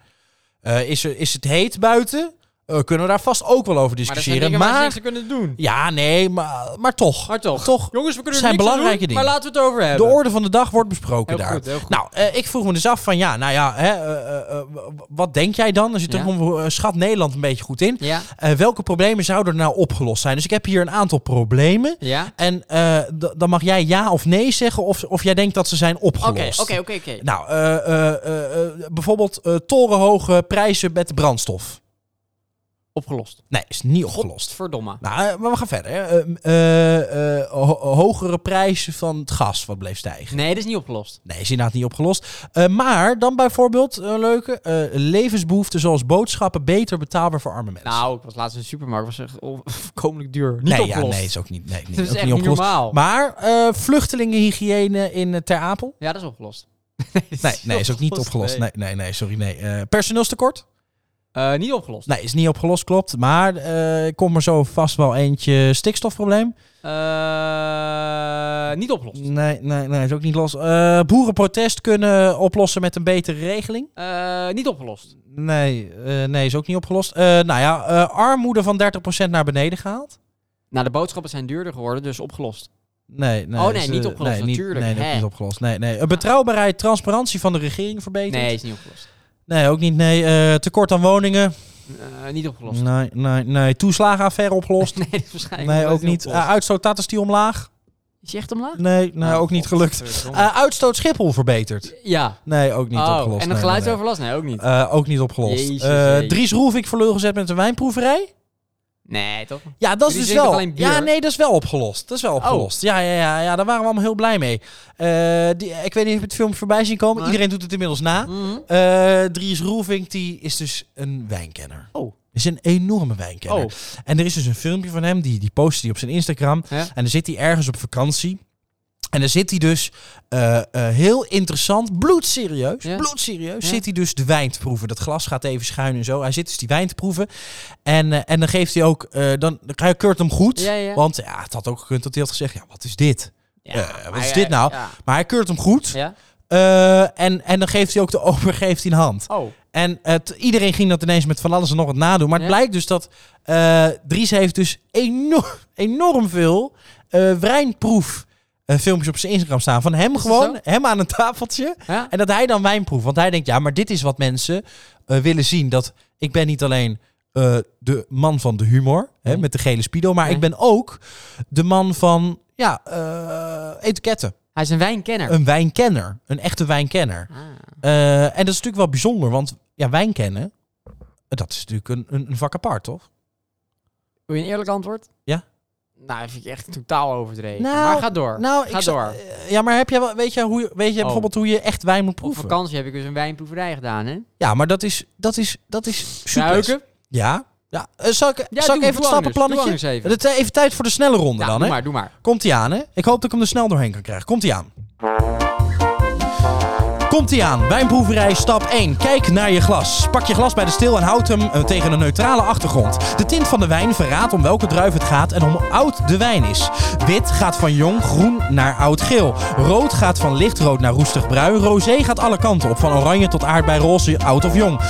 Speaker 1: Eh, is, er, is het heet buiten? Eh, kunnen we daar vast ook wel over
Speaker 2: Maar dat zijn
Speaker 1: discussiëren.
Speaker 2: dingen
Speaker 1: Maar,
Speaker 2: waar ze niks aan kunnen doen.
Speaker 1: ja, nee, maar, maar toch.
Speaker 2: Maar toch.
Speaker 1: Toch,
Speaker 2: Jongens, we kunnen er
Speaker 1: zijn
Speaker 2: niks aan
Speaker 1: belangrijke
Speaker 2: doen,
Speaker 1: dingen.
Speaker 2: maar laten we het over
Speaker 1: de
Speaker 2: hebben.
Speaker 1: orde van de dag wordt besproken
Speaker 2: Heel
Speaker 1: daar.
Speaker 2: goed, heel goed.
Speaker 1: Nou, eh, ik vroeg me dus af van ja, nou ja, hè, eh, eh, eh, w- wat denk jij dan? Er zit
Speaker 2: Ja.
Speaker 1: toch een- eh, schat Nederland een beetje goed in.
Speaker 2: Ja,
Speaker 1: Eh, welke problemen zouden er nou opgelost zijn? Dus ik heb hier een aantal problemen.
Speaker 2: ja.
Speaker 1: En eh, d- dan mag jij ja of nee zeggen of, of jij denkt dat ze zijn
Speaker 2: Oké,
Speaker 1: opgelost.
Speaker 2: oké, oké, oké.
Speaker 1: Nou, eh, eh, eh, eh, bijvoorbeeld eh, torenhoge prijzen met de brandstof.
Speaker 2: Opgelost.
Speaker 1: Nee, is niet opgelost.
Speaker 2: Verdomme.
Speaker 1: Nou, eh, maar we gaan verder. hè. Eh, eh, eh, ho- hogere prijzen van het gas wat bleef stijgen.
Speaker 2: Nee, dat is niet opgelost.
Speaker 1: Nee, is inderdaad niet opgelost. Eh, maar dan bijvoorbeeld, een leuke, eh, levensbehoeften zoals boodschappen beter betaalbaar voor arme mensen.
Speaker 2: Nou, ik was laatst in de supermarkt. was echt on- voorkomelijk duur. Niet
Speaker 1: nee,
Speaker 2: opgelost.
Speaker 1: Ja, nee, is ook niet, nee, niet,
Speaker 2: dat is
Speaker 1: ook
Speaker 2: echt
Speaker 1: niet
Speaker 2: niet
Speaker 1: opgelost.
Speaker 2: normaal.
Speaker 1: Maar eh, vluchtelingenhygiëne in eh, Ter Apel?
Speaker 2: Ja, dat is opgelost.
Speaker 1: Nee, nee, is ook niet opgelost. Nee, nee, nee sorry, nee. Eh, personeelstekort?
Speaker 2: Eh, niet opgelost.
Speaker 1: Nee, is niet opgelost, klopt. Maar eh, ik kom er zo vast wel eentje. Stikstofprobleem?
Speaker 2: Eh, niet opgelost.
Speaker 1: Nee, nee, nee, is ook niet los. Eh, boerenprotest kunnen oplossen met een betere regeling?
Speaker 2: Eh, niet opgelost.
Speaker 1: Nee, eh, nee, is ook niet opgelost. Eh, nou ja, eh, armoede van 30% naar beneden gehaald?
Speaker 2: Nou, de boodschappen zijn duurder geworden, dus opgelost.
Speaker 1: Nee, nee.
Speaker 2: Oh, nee,
Speaker 1: is,
Speaker 2: niet
Speaker 1: eh,
Speaker 2: opgelost,
Speaker 1: nee, niet-
Speaker 2: natuurlijk.
Speaker 1: Nee, dat
Speaker 2: Hè.
Speaker 1: is niet opgelost. Nee, nee. Eh, Betrouwbaarheid, transparantie van de regering verbeterd?
Speaker 2: Nee, is niet opgelost.
Speaker 1: Nee, ook niet. Nee, Eh, tekort aan woningen?
Speaker 2: Eh, niet opgelost.
Speaker 1: Nee, nee, nee. Toeslagenaffaire opgelost?
Speaker 2: Nee, dat is waarschijnlijk
Speaker 1: Nee,
Speaker 2: nog nooit
Speaker 1: ook niet.
Speaker 2: opgelost.
Speaker 1: Eh, uitstoot Tata Steel omlaag?
Speaker 2: is je echt omlaag?
Speaker 1: Nee, nee,
Speaker 2: Oh,
Speaker 1: ook niet
Speaker 2: God,
Speaker 1: gelukt.
Speaker 2: verdomme.
Speaker 1: Eh, uitstoot Schiphol verbeterd?
Speaker 2: ja.
Speaker 1: Nee, ook niet
Speaker 2: Oh,
Speaker 1: opgelost.
Speaker 2: En
Speaker 1: Nee,
Speaker 2: het
Speaker 1: nee, nee.
Speaker 2: geluidsoverlast? Nee, ook niet.
Speaker 1: Eh, ook niet opgelost.
Speaker 2: Jezus,
Speaker 1: Eh,
Speaker 2: jee.
Speaker 1: Dries Roelvink verloren gezet met een wijnproeverij?
Speaker 2: Nee, toch?
Speaker 1: Ja, dat is
Speaker 2: Die
Speaker 1: dus
Speaker 2: drinken
Speaker 1: wel.
Speaker 2: alleen bier. Oh.
Speaker 1: Ja, nee, dat is wel opgelost. Dat is wel opgelost. Ja, ja, ja, ja, daar waren we allemaal heel blij mee. Eh, die, ik weet niet of je het film voorbij zien komen.
Speaker 2: Nee.
Speaker 1: Iedereen doet het inmiddels na.
Speaker 2: Mhm.
Speaker 1: Eh Dries Roelvink, die is dus een wijnkenner.
Speaker 2: Oh.
Speaker 1: Is een enorme wijnkenner.
Speaker 2: Oh.
Speaker 1: En er is dus een filmpje van hem, die, die postte hij op zijn Instagram.
Speaker 2: Ja.
Speaker 1: En dan zit hij ergens op vakantie. En dan zit hij dus eh, eh, heel interessant, bloedserieus,
Speaker 2: Ja.
Speaker 1: bloedserieus,
Speaker 2: Ja.
Speaker 1: zit hij dus de wijn te proeven. Dat glas gaat even schuin en zo. Hij zit dus die wijn te proeven. En, eh, en dan geeft hij ook, eh, dan, hij keurt hem goed.
Speaker 2: Ja, ja.
Speaker 1: Want ja, het had ook gekund dat hij had gezegd, ja, wat is dit?
Speaker 2: Ja,
Speaker 1: Eh, wat
Speaker 2: maar
Speaker 1: is
Speaker 2: ja,
Speaker 1: dit nou?
Speaker 2: Ja.
Speaker 1: Maar hij keurt hem goed.
Speaker 2: Ja?
Speaker 1: Eh, en, en dan geeft hij ook de ober geeft hij een hand.
Speaker 2: Oh.
Speaker 1: En het, iedereen ging dat ineens met van alles en nog wat nadoen. Maar het
Speaker 2: Ja.
Speaker 1: blijkt dus dat eh, Dries heeft dus enorm, enorm veel eh wijnproef eh, filmpjes op zijn Instagram staan. Van hem
Speaker 2: dat
Speaker 1: gewoon, hem aan een tafeltje.
Speaker 2: Ja?
Speaker 1: En dat hij dan wijnproef. Want hij denkt, ja, maar dit is wat mensen eh, willen zien. Dat ik ben niet alleen eh, de man van de humor, hè,
Speaker 2: Nee.
Speaker 1: met de gele spido. Maar
Speaker 2: Nee.
Speaker 1: ik ben ook de man van, ja, eh, etiketten.
Speaker 2: Hij is een wijnkenner.
Speaker 1: Een wijnkenner. Een echte wijnkenner.
Speaker 2: Ah.
Speaker 1: Eh, en dat is natuurlijk wel bijzonder, want ja, wijn kennen, dat is natuurlijk een, een, een vak apart, toch?
Speaker 2: Wil je een eerlijk antwoord?
Speaker 1: Ja.
Speaker 2: Nou, dat vind ik echt totaal overdreven.
Speaker 1: Nou,
Speaker 2: maar ga door.
Speaker 1: Nou,
Speaker 2: ga
Speaker 1: ik zou-
Speaker 2: door.
Speaker 1: eh, ja, maar heb jij wel, weet je, hoe, je- weet je
Speaker 2: Oh.
Speaker 1: bijvoorbeeld hoe je echt wijn moet
Speaker 2: Op
Speaker 1: proeven?
Speaker 2: vakantie heb ik dus een wijnproeverij gedaan, hè?
Speaker 1: Ja, maar dat is, dat is, dat is super.
Speaker 2: Ruiken?
Speaker 1: Ja. ja. Eh, zal ik,
Speaker 2: Ja,
Speaker 1: zal
Speaker 2: doe-
Speaker 1: ik even
Speaker 2: doe
Speaker 1: het
Speaker 2: anders. Doe
Speaker 1: stappenplannetje?
Speaker 2: anders even.
Speaker 1: Het, eh, even tijd voor de snelle ronde
Speaker 2: Ja,
Speaker 1: dan,
Speaker 2: doe
Speaker 1: hè?
Speaker 2: maar, doe maar.
Speaker 1: Komt ie aan, hè? Ik hoop dat ik hem er snel doorheen kan krijgen. Komt ie aan. Komt ie aan. Wijnproeverij stap 1. Kijk naar je glas. Pak je glas bij de steel en houd hem eh, tegen een neutrale achtergrond. De tint van de wijn verraadt om welke druif het gaat en hoe oud de wijn is. Wit gaat van jong groen naar oud geel. Rood gaat van lichtrood naar roestig bruin. Rosé gaat alle kanten op, van oranje tot aardbeiroze, oud of jong.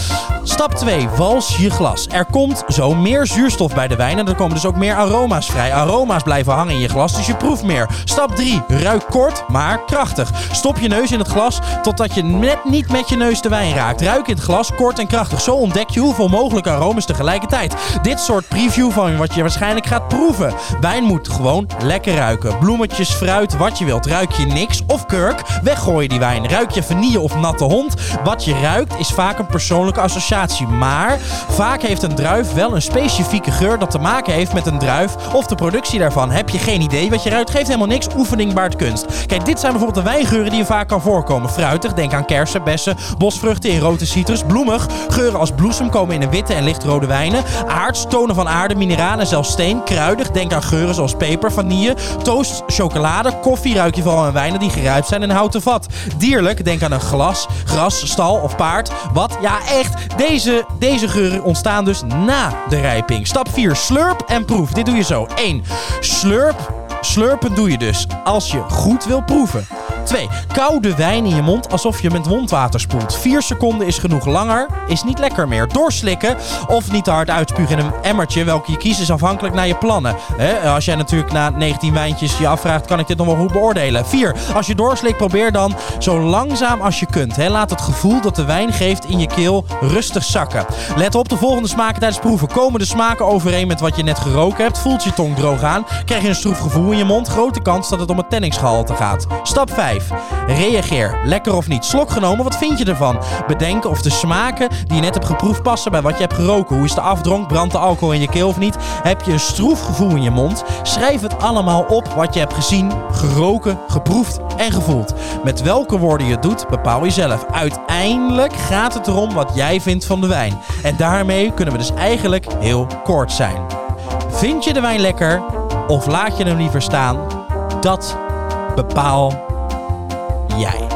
Speaker 1: Stap 2. Wals je glas. Er komt zo meer zuurstof bij de wijn en er komen dus ook meer aroma's vrij. Aroma's blijven hangen in je glas, dus je proeft meer. Stap 3. Ruik kort, maar krachtig. Stop je neus in het glas totdat je net niet met je neus de wijn raakt. Ruik in het glas kort en krachtig. Zo ontdek je hoeveel mogelijke aromas tegelijkertijd. Dit soort preview van wat je waarschijnlijk gaat proeven. Wijn moet gewoon lekker ruiken. Bloemetjes, fruit, wat je wilt. Ruik je niks of kurk, weggooi je die wijn. Ruik je vanille of natte hond. Wat je ruikt is vaak een persoonlijke associatie. Maar vaak heeft een druif wel een specifieke geur dat te maken heeft met een druif of de productie daarvan. Heb je geen idee wat je ruikt, geeft helemaal niks. Oefening baart kunst. Kijk, dit zijn bijvoorbeeld de wijngeuren die je vaak kan voorkomen. Fruitig, denk aan kersen, bessen, bosvruchten in rode citrus. Bloemig, geuren als bloesem komen in de witte en lichtrode wijnen. Aards, tonen van aarde, mineralen en zelfs steen. Kruidig, denk aan geuren zoals peper, vanille, toast, chocolade, koffie. Ruik je vooral aan wijnen die geruimd zijn in een houten vat. Dierlijk, denk aan een glas, gras, stal of paard. Wat? Ja, echt. Deze, deze geuren ontstaan dus na de rijping. Stap 4. Slurp en proef. Dit doe je zo. 1. Slurp. Slurpen doe je dus als je goed wil proeven. 2. Koude wijn in je mond alsof je met wondwater spoelt. 4 seconden is genoeg. Langer is niet lekker meer. Doorslikken of niet te hard uitspugen in een emmertje. Welke je kiest is afhankelijk naar je plannen. Hè, als jij natuurlijk na 19 wijntjes je afvraagt, kan ik dit nog wel goed beoordelen? 4. Als je doorslikt, probeer dan zo langzaam als je kunt. Hè. Laat het gevoel dat de wijn geeft in je keel rustig zakken. Let op de volgende smaken tijdens proeven. Komen de smaken overeen met wat je net geroken hebt? Voelt je tong droog aan? Krijg je een stroef gevoel in je mond? Grote kans dat het om het tanningsgehalte gaat. Stap 5. Reageer. Lekker of niet? Slok genomen, wat vind je ervan? Bedenk of de smaken die je net hebt geproefd passen bij wat je hebt geroken. Hoe is de afdronk? Brandt de alcohol in je keel of niet? Heb je een stroef gevoel in je mond? Schrijf het allemaal op wat je hebt gezien, geroken, geproefd en gevoeld. Met welke woorden je het doet, bepaal je zelf. Uiteindelijk gaat het erom wat jij vindt van de wijn. En daarmee kunnen we dus eigenlijk heel kort zijn. Vind je de wijn lekker of laat je hem liever staan? Dat bepaal jij.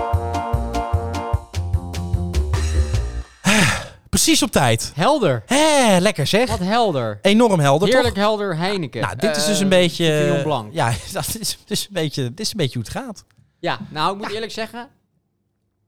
Speaker 1: Ah, Precies op tijd.
Speaker 2: Helder.
Speaker 1: Hé, lekker zeg.
Speaker 2: Wat helder.
Speaker 1: Enorm helder, toch?
Speaker 2: Heerlijk helder Heineken.
Speaker 1: Nou, dit is
Speaker 2: Eh,
Speaker 1: dus een beetje.
Speaker 2: Sauvignon Blanc.
Speaker 1: Ja, dat is, dit is een beetje, dit is een beetje hoe het gaat.
Speaker 2: Ja, nou, ik moet eerlijk zeggen...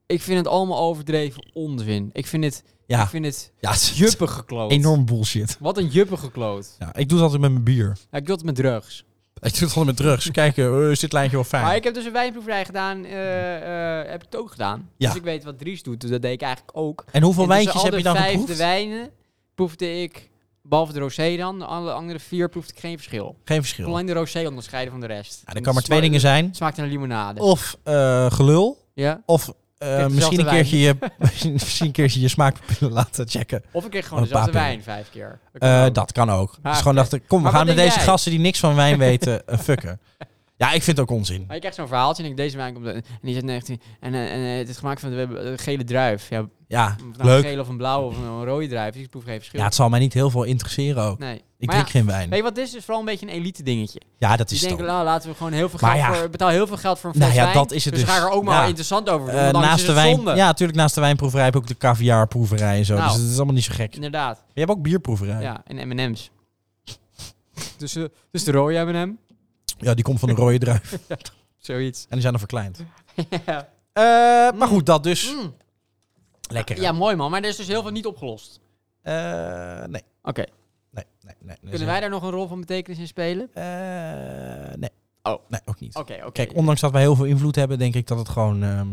Speaker 2: Ik vind het allemaal overdreven onzin. Ik vind het,
Speaker 1: Ja,
Speaker 2: ik vind het
Speaker 1: ja het is
Speaker 2: juppig gekloot.
Speaker 1: enorm bullshit.
Speaker 2: Wat een juppig gekloot.
Speaker 1: Ja, ik doe het altijd met mijn bier.
Speaker 2: Nou, ik doe het met drugs.
Speaker 1: Ik doe het altijd met drugs. Kijken, eh, is dit lijntje wel fijn?
Speaker 2: Maar ik heb dus een wijnproeverij gedaan. eh, eh, heb ik het ook gedaan.
Speaker 1: Ja.
Speaker 2: Dus ik weet wat Dries doet. Dus dat deed ik eigenlijk ook.
Speaker 1: En hoeveel
Speaker 2: En
Speaker 1: wijntjes
Speaker 2: tussen
Speaker 1: heb
Speaker 2: al
Speaker 1: je
Speaker 2: de
Speaker 1: dan
Speaker 2: vijf
Speaker 1: geproefd?
Speaker 2: de wijnen proefde ik, behalve de rosé dan, de alle andere vier proefde ik geen verschil.
Speaker 1: Geen
Speaker 2: Ik
Speaker 1: verschil.
Speaker 2: kon alleen de rosé onderscheiden van de rest.
Speaker 1: Ja, er
Speaker 2: En
Speaker 1: kan maar
Speaker 2: het
Speaker 1: twee
Speaker 2: sma-
Speaker 1: dingen zijn.
Speaker 2: Het smaakte naar limonade.
Speaker 1: Of eh, gelul.
Speaker 2: Ja.
Speaker 1: Of eh,
Speaker 2: dezelfde
Speaker 1: misschien, een
Speaker 2: wijn.
Speaker 1: keertje je, misschien een keertje je smaakpapillen laten checken.
Speaker 2: Of ik kreeg gewoon
Speaker 1: Of een
Speaker 2: dezelfde
Speaker 1: paar
Speaker 2: wijn vijf keer. Dat kan
Speaker 1: Eh,
Speaker 2: ook.
Speaker 1: dat kan ook.
Speaker 2: Ah,
Speaker 1: dus gewoon
Speaker 2: oké.
Speaker 1: dachten, kom, we
Speaker 2: Maar
Speaker 1: gaan
Speaker 2: wat
Speaker 1: met
Speaker 2: denk
Speaker 1: deze
Speaker 2: jij?
Speaker 1: gasten die niks van wijn weten eh, fucken. Ja, ik vind het ook onzin.
Speaker 2: Maar je krijgt zo'n verhaaltje en ik deze wijn komt en die zegt 19 en, eh, en eh, het is gemaakt van de eh, gele druif. Ja, of
Speaker 1: Ja,
Speaker 2: nou een
Speaker 1: leuk.
Speaker 2: gele of een blauwe of een, een rode druif. Dus ik proef geen verschil.
Speaker 1: Ja, het zal mij niet heel veel interesseren ook.
Speaker 2: nee.
Speaker 1: Ik
Speaker 2: maar ja,
Speaker 1: drink geen wijn.
Speaker 2: Weet je wat, dit is dus vooral een beetje een elite dingetje.
Speaker 1: Ja, dat
Speaker 2: Die
Speaker 1: is het
Speaker 2: denken,
Speaker 1: ook.
Speaker 2: nou laten we gewoon heel veel
Speaker 1: Maar ja.
Speaker 2: geld voor, betaal heel veel geld voor een
Speaker 1: Nou
Speaker 2: fles
Speaker 1: ja,
Speaker 2: wijn.
Speaker 1: dat is het dus.
Speaker 2: ga ik er ook maar
Speaker 1: Ja.
Speaker 2: interessant over doen,
Speaker 1: Eh,
Speaker 2: want anders
Speaker 1: naast
Speaker 2: is
Speaker 1: de
Speaker 2: het
Speaker 1: wijn,
Speaker 2: zonde.
Speaker 1: ja, natuurlijk naast de wijnproeverij heb ik ook de caviarproeverij en zo.
Speaker 2: Nou.
Speaker 1: Dus het is allemaal niet zo gek. Maar
Speaker 2: Inderdaad.
Speaker 1: je hebt ook bierproeverij. Ja,
Speaker 2: Ja, en M&M's. dus, eh, dus de rode M&M,
Speaker 1: die komt van de rode druif.
Speaker 2: zoiets.
Speaker 1: En die zijn dan verkleind.
Speaker 2: ja.
Speaker 1: Eh, Maar goed, dat dus.
Speaker 2: Mm.
Speaker 1: Lekker.
Speaker 2: ja, mooi man. Maar er is dus heel veel niet opgelost.
Speaker 1: Eh, nee.
Speaker 2: Oké,
Speaker 1: Nee, nee, nee. nee.
Speaker 2: kunnen wij daar nog een rol van betekenis in spelen?
Speaker 1: Eh, nee.
Speaker 2: Oh.
Speaker 1: Nee, ook niet.
Speaker 2: Oké, oké.
Speaker 1: Kijk, ondanks dat wij heel veel invloed hebben, denk ik dat het gewoon... ehm,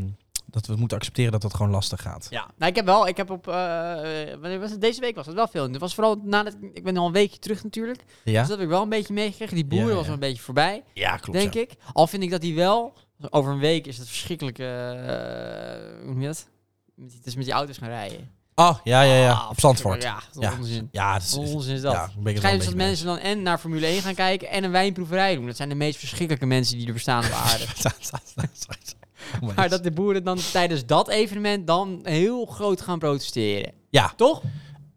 Speaker 1: dat we het moeten accepteren dat het gewoon lastig gaat.
Speaker 2: ja, nou, ik heb wel, ik heb op, eh, eh, wanneer was het? deze week was dat wel veel. Het was vooral nadat, ik- ik ben al een weekje terug natuurlijk, dus
Speaker 1: Ja?
Speaker 2: dat heb ik wel een beetje meegekregen. Die boeren
Speaker 1: Ja,
Speaker 2: was
Speaker 1: ja.
Speaker 2: wel een beetje voorbij.
Speaker 1: Ja, klopt.
Speaker 2: denk ik. Al vind ik dat hij wel Over een week is het verschrikkelijk. eh, hoe noem je dat? Met die, dus met die auto's gaan rijden.
Speaker 1: Oh, ja, ja, ja.
Speaker 2: Ah,
Speaker 1: op Zandvoort.
Speaker 2: Ja, wat
Speaker 1: Ja.
Speaker 2: onzin.
Speaker 1: Ja, dat is...
Speaker 2: Wat onzin is dat.
Speaker 1: Ja, ben ik het wel een
Speaker 2: Waarschijnlijk
Speaker 1: beetje
Speaker 2: dat
Speaker 1: mee eens.
Speaker 2: mensen dan en naar Formule 1 gaan kijken en een wijnproeverij doen. Dat zijn de meest verschrikkelijke mensen die er bestaan op aarde.
Speaker 1: Helemaal
Speaker 2: Maar
Speaker 1: eens.
Speaker 2: dat de boeren dan tijdens dat evenement dan heel groot gaan protesteren.
Speaker 1: Ja. Eh,
Speaker 2: Toch?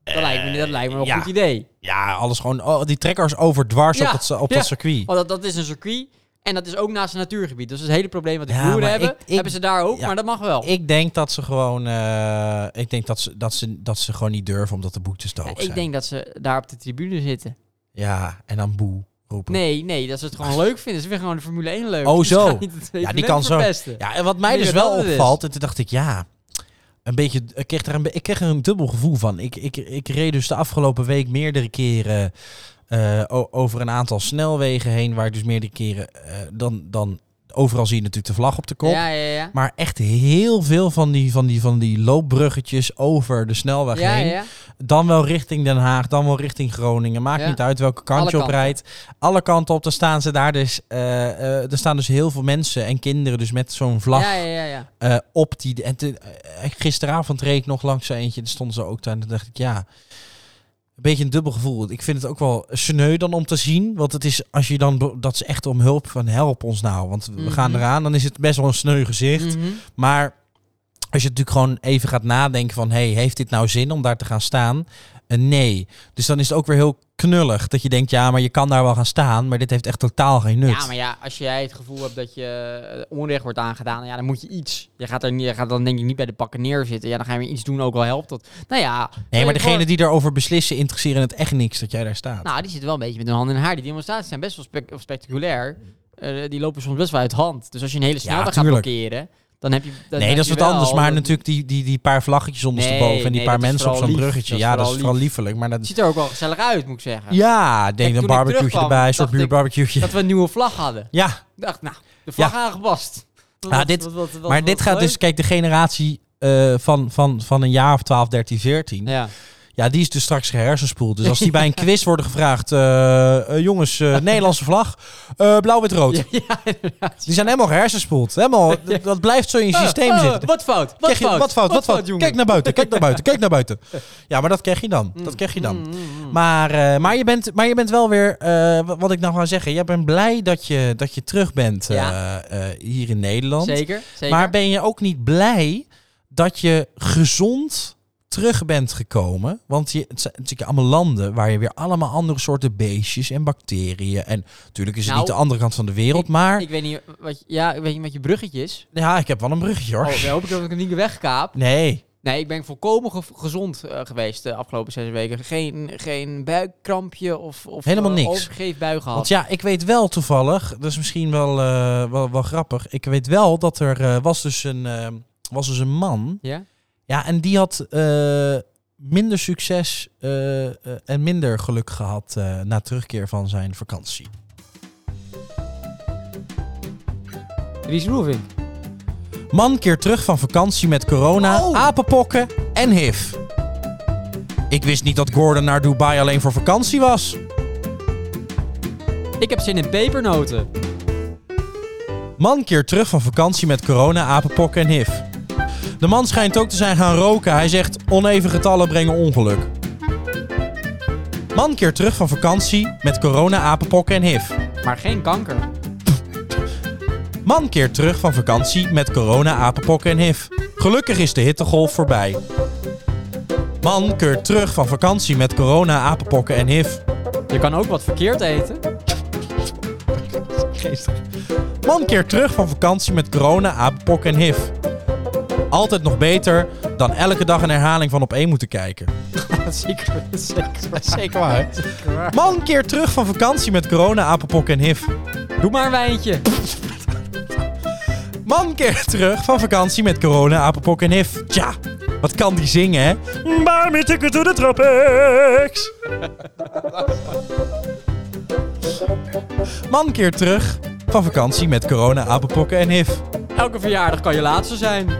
Speaker 2: Dat lijkt me, dat lijkt me wel een
Speaker 1: ja.
Speaker 2: goed idee.
Speaker 1: Ja, alles gewoon... Oh, die trekkers over dwars
Speaker 2: Ja,
Speaker 1: op, dat, op
Speaker 2: ja.
Speaker 1: dat circuit.
Speaker 2: Want dat, dat is een circuit en dat is ook naast een natuurgebied. Dus dat is het hele probleem wat de
Speaker 1: Ja,
Speaker 2: boeren
Speaker 1: maar
Speaker 2: hebben.
Speaker 1: ik- ik-
Speaker 2: hebben ze daar ook,
Speaker 1: ja.
Speaker 2: maar dat mag wel.
Speaker 1: Ik denk dat ze gewoon... eh, ik denk dat ze, dat, ze, dat ze gewoon niet durven omdat de boetes te
Speaker 2: Ja,
Speaker 1: hoog zijn.
Speaker 2: ik denk dat ze daar op de tribune zitten.
Speaker 1: Ja, en dan boe roepen.
Speaker 2: Nee, nee, dat ze het gewoon leuk vinden. Ze vinden gewoon de Formule 1 leuk.
Speaker 1: Oh,
Speaker 2: Dus
Speaker 1: zo.
Speaker 2: gaan niet het
Speaker 1: Ja, die
Speaker 2: evenement
Speaker 1: kan zo.
Speaker 2: verpesten.
Speaker 1: Ja, en wat mij
Speaker 2: Ik
Speaker 1: dus
Speaker 2: denk dat
Speaker 1: wel
Speaker 2: dat het is.
Speaker 1: opvalt, en toen dacht ik, ja, een beetje, ik kreeg er een, be- ik kreeg er een dubbel gevoel van. Ik, ik, ik reed dus de afgelopen week meerdere keren eh, o- over een aantal snelwegen heen, waar ik dus meerdere keren, eh, dan, dan overal zie je natuurlijk de vlag op de kop.
Speaker 2: Ja, ja, ja.
Speaker 1: Maar echt heel veel van die, van, die, van die loopbruggetjes over de snelweg
Speaker 2: Ja,
Speaker 1: heen.
Speaker 2: ja.
Speaker 1: Dan wel richting Den Haag, dan wel richting Groningen. Maakt
Speaker 2: Ja.
Speaker 1: niet uit welke kant
Speaker 2: Alle
Speaker 1: je op
Speaker 2: kanten.
Speaker 1: rijdt. Alle kanten op, dan staan ze daar dus. eh, eh, er staan dus heel veel mensen en kinderen dus met zo'n vlag
Speaker 2: Ja, ja, ja, ja.
Speaker 1: eh, op die. En te- eh, gisteravond reed ik nog langs zo eentje. Er stonden ze ook daar. En toen dacht ik, ja. Een beetje een dubbel gevoel. Ik vind het ook wel sneu dan om te zien. Want het is als je dan. be- Dat ze echt om hulp van help ons nou. Want we
Speaker 2: Mhm.
Speaker 1: gaan eraan. Dan is het best wel een sneu gezicht.
Speaker 2: Mhm.
Speaker 1: Maar als je natuurlijk gewoon even gaat nadenken van... hey, heeft dit nou zin om daar te gaan staan? Eh, nee. Dus dan is het ook weer heel knullig. Dat je denkt, ja, maar je kan daar wel gaan staan... maar dit heeft echt totaal geen nut.
Speaker 2: Ja, maar ja, als jij het gevoel hebt dat je eh, onrecht wordt aangedaan, ja, dan moet je iets. Je gaat, er, niet- je gaat dan denk ik niet bij de pakken neerzitten. Ja, dan ga je weer iets doen, ook al helpt dat. Nou ja.
Speaker 1: nee,
Speaker 2: eh,
Speaker 1: maar
Speaker 2: gewoon-
Speaker 1: degene die daarover beslissen... interesseren het echt niks dat jij daar staat.
Speaker 2: Nou, die zitten wel een beetje met hun handen in haar. Die demonstraties zijn best wel spe- spectaculair. Eh, die lopen soms best wel uit hand. Dus als je een hele snelweg gaat
Speaker 1: tuurlijk.
Speaker 2: blokkeren, dan heb je... dan
Speaker 1: nee,
Speaker 2: heb
Speaker 1: dat is
Speaker 2: je
Speaker 1: wat
Speaker 2: wel
Speaker 1: anders. Maar
Speaker 2: dat-
Speaker 1: natuurlijk die, die, die paar vlaggetjes ondersteboven...
Speaker 2: Nee,
Speaker 1: en die
Speaker 2: nee,
Speaker 1: paar
Speaker 2: dat is
Speaker 1: mensen op
Speaker 2: vooral
Speaker 1: zo'n
Speaker 2: lief.
Speaker 1: bruggetje.
Speaker 2: Dat is
Speaker 1: ja, dat is
Speaker 2: vooral
Speaker 1: vooral liefelijk. Maar
Speaker 2: Het
Speaker 1: dat...
Speaker 2: ziet er ook wel gezellig uit, moet ik zeggen.
Speaker 1: Ja, ik denk
Speaker 2: toen
Speaker 1: een
Speaker 2: ik
Speaker 1: barbecue
Speaker 2: terugkwam,
Speaker 1: erbij. Een soort
Speaker 2: dacht ik
Speaker 1: buurbarbecueje.
Speaker 2: Dat we een nieuwe vlag hadden.
Speaker 1: Ja,
Speaker 2: Ik dacht, nou, de vlag aangepast.
Speaker 1: Nou, dit- maar dit gaat dus... Kijk, de generatie eh, van, van, van een jaar of 12, 13, 14...
Speaker 2: Ja.
Speaker 1: Ja, die is dus straks gehersenspoeld. Dus als die bij een quiz worden gevraagd... eh, eh, jongens, eh, Nederlandse vlag, eh, blauw, wit, rood.
Speaker 2: Ja, ja, inderdaad.
Speaker 1: Die zijn helemaal gehersenspoeld. Helemaal, dat- dat blijft zo in je
Speaker 2: Ah,
Speaker 1: systeem
Speaker 2: ah,
Speaker 1: zitten.
Speaker 2: Wat fout? Wat
Speaker 1: Krijg je-
Speaker 2: fout?
Speaker 1: wat fout, wat fout.
Speaker 2: jongen?
Speaker 1: Kijk naar buiten, kijk naar buiten, kijk naar buiten. Ja, maar dat krijg je dan. Dat krijg je dan.
Speaker 2: Mm, mm, mm.
Speaker 1: Maar, eh, maar, je, bent, maar je bent wel weer... eh, wat- wat ik nou wou zeggen. Je bent blij dat je, dat je terug bent eh,
Speaker 2: Ja.
Speaker 1: eh, hier in Nederland.
Speaker 2: Zeker, zeker.
Speaker 1: Maar ben je ook niet blij dat je gezond terug bent gekomen? Want je, het zijn natuurlijk allemaal landen waar je weer allemaal andere soorten beestjes en bacteriën. En natuurlijk is het
Speaker 2: Nou,
Speaker 1: niet de andere kant van de wereld, maar
Speaker 2: ik weet niet wat je, ja, ik weet niet wat je bruggetje is.
Speaker 1: ja, ik heb wel een bruggetje hoor.
Speaker 2: Oh, dan hoop ik dat ik hem niet wegkaap.
Speaker 1: Nee,
Speaker 2: Nee, ik ben volkomen ge- gezond eh, geweest de afgelopen zes weken. Geen, geen buikkrampje of, of
Speaker 1: Helemaal
Speaker 2: eh,
Speaker 1: niks.
Speaker 2: overgeefbui gehad.
Speaker 1: want ja, ik weet wel toevallig, dat is misschien wel, eh, wel, wel grappig. Ik weet wel dat er eh, was, dus een, eh, was dus een man,
Speaker 2: Ja?
Speaker 1: ja, en die had eh, minder succes eh, eh, en minder geluk gehad eh, na terugkeer van zijn vakantie.
Speaker 2: Ries Roelvink.
Speaker 1: Man keert terug van vakantie met corona,
Speaker 2: Oh.
Speaker 1: apenpokken en HIV. Ik wist niet dat Gordon naar Dubai alleen voor vakantie was.
Speaker 2: Ik heb zin in pepernoten.
Speaker 1: Man keert terug van vakantie met corona, apenpokken en HIV. De man schijnt ook te zijn gaan roken. Hij zegt oneven getallen brengen ongeluk. Man keert terug van vakantie met corona, apenpokken en HIV.
Speaker 2: Maar geen kanker.
Speaker 1: Man keert terug van vakantie met corona, apenpokken en HIV. Gelukkig is de hittegolf voorbij. Man keert terug van vakantie met corona, apenpokken en HIV.
Speaker 2: Je kan ook wat verkeerd eten.
Speaker 1: Man keert terug van vakantie met corona, apenpokken en HIV. Altijd nog beter dan elke dag een herhaling van op één moeten kijken.
Speaker 2: zeker, zeker, zeker
Speaker 1: waar,
Speaker 2: Zeker waar.
Speaker 1: Man keert terug van vakantie met corona, apenpokken en HIV.
Speaker 2: Doe maar een wijntje.
Speaker 1: Man keert terug van vakantie met corona, apenpokken en HIV. Tja, wat kan die zingen, hè? Waar met ik to the tropics. Man keert terug van vakantie met corona, apenpokken en HIV.
Speaker 2: Elke verjaardag kan je laatste zijn.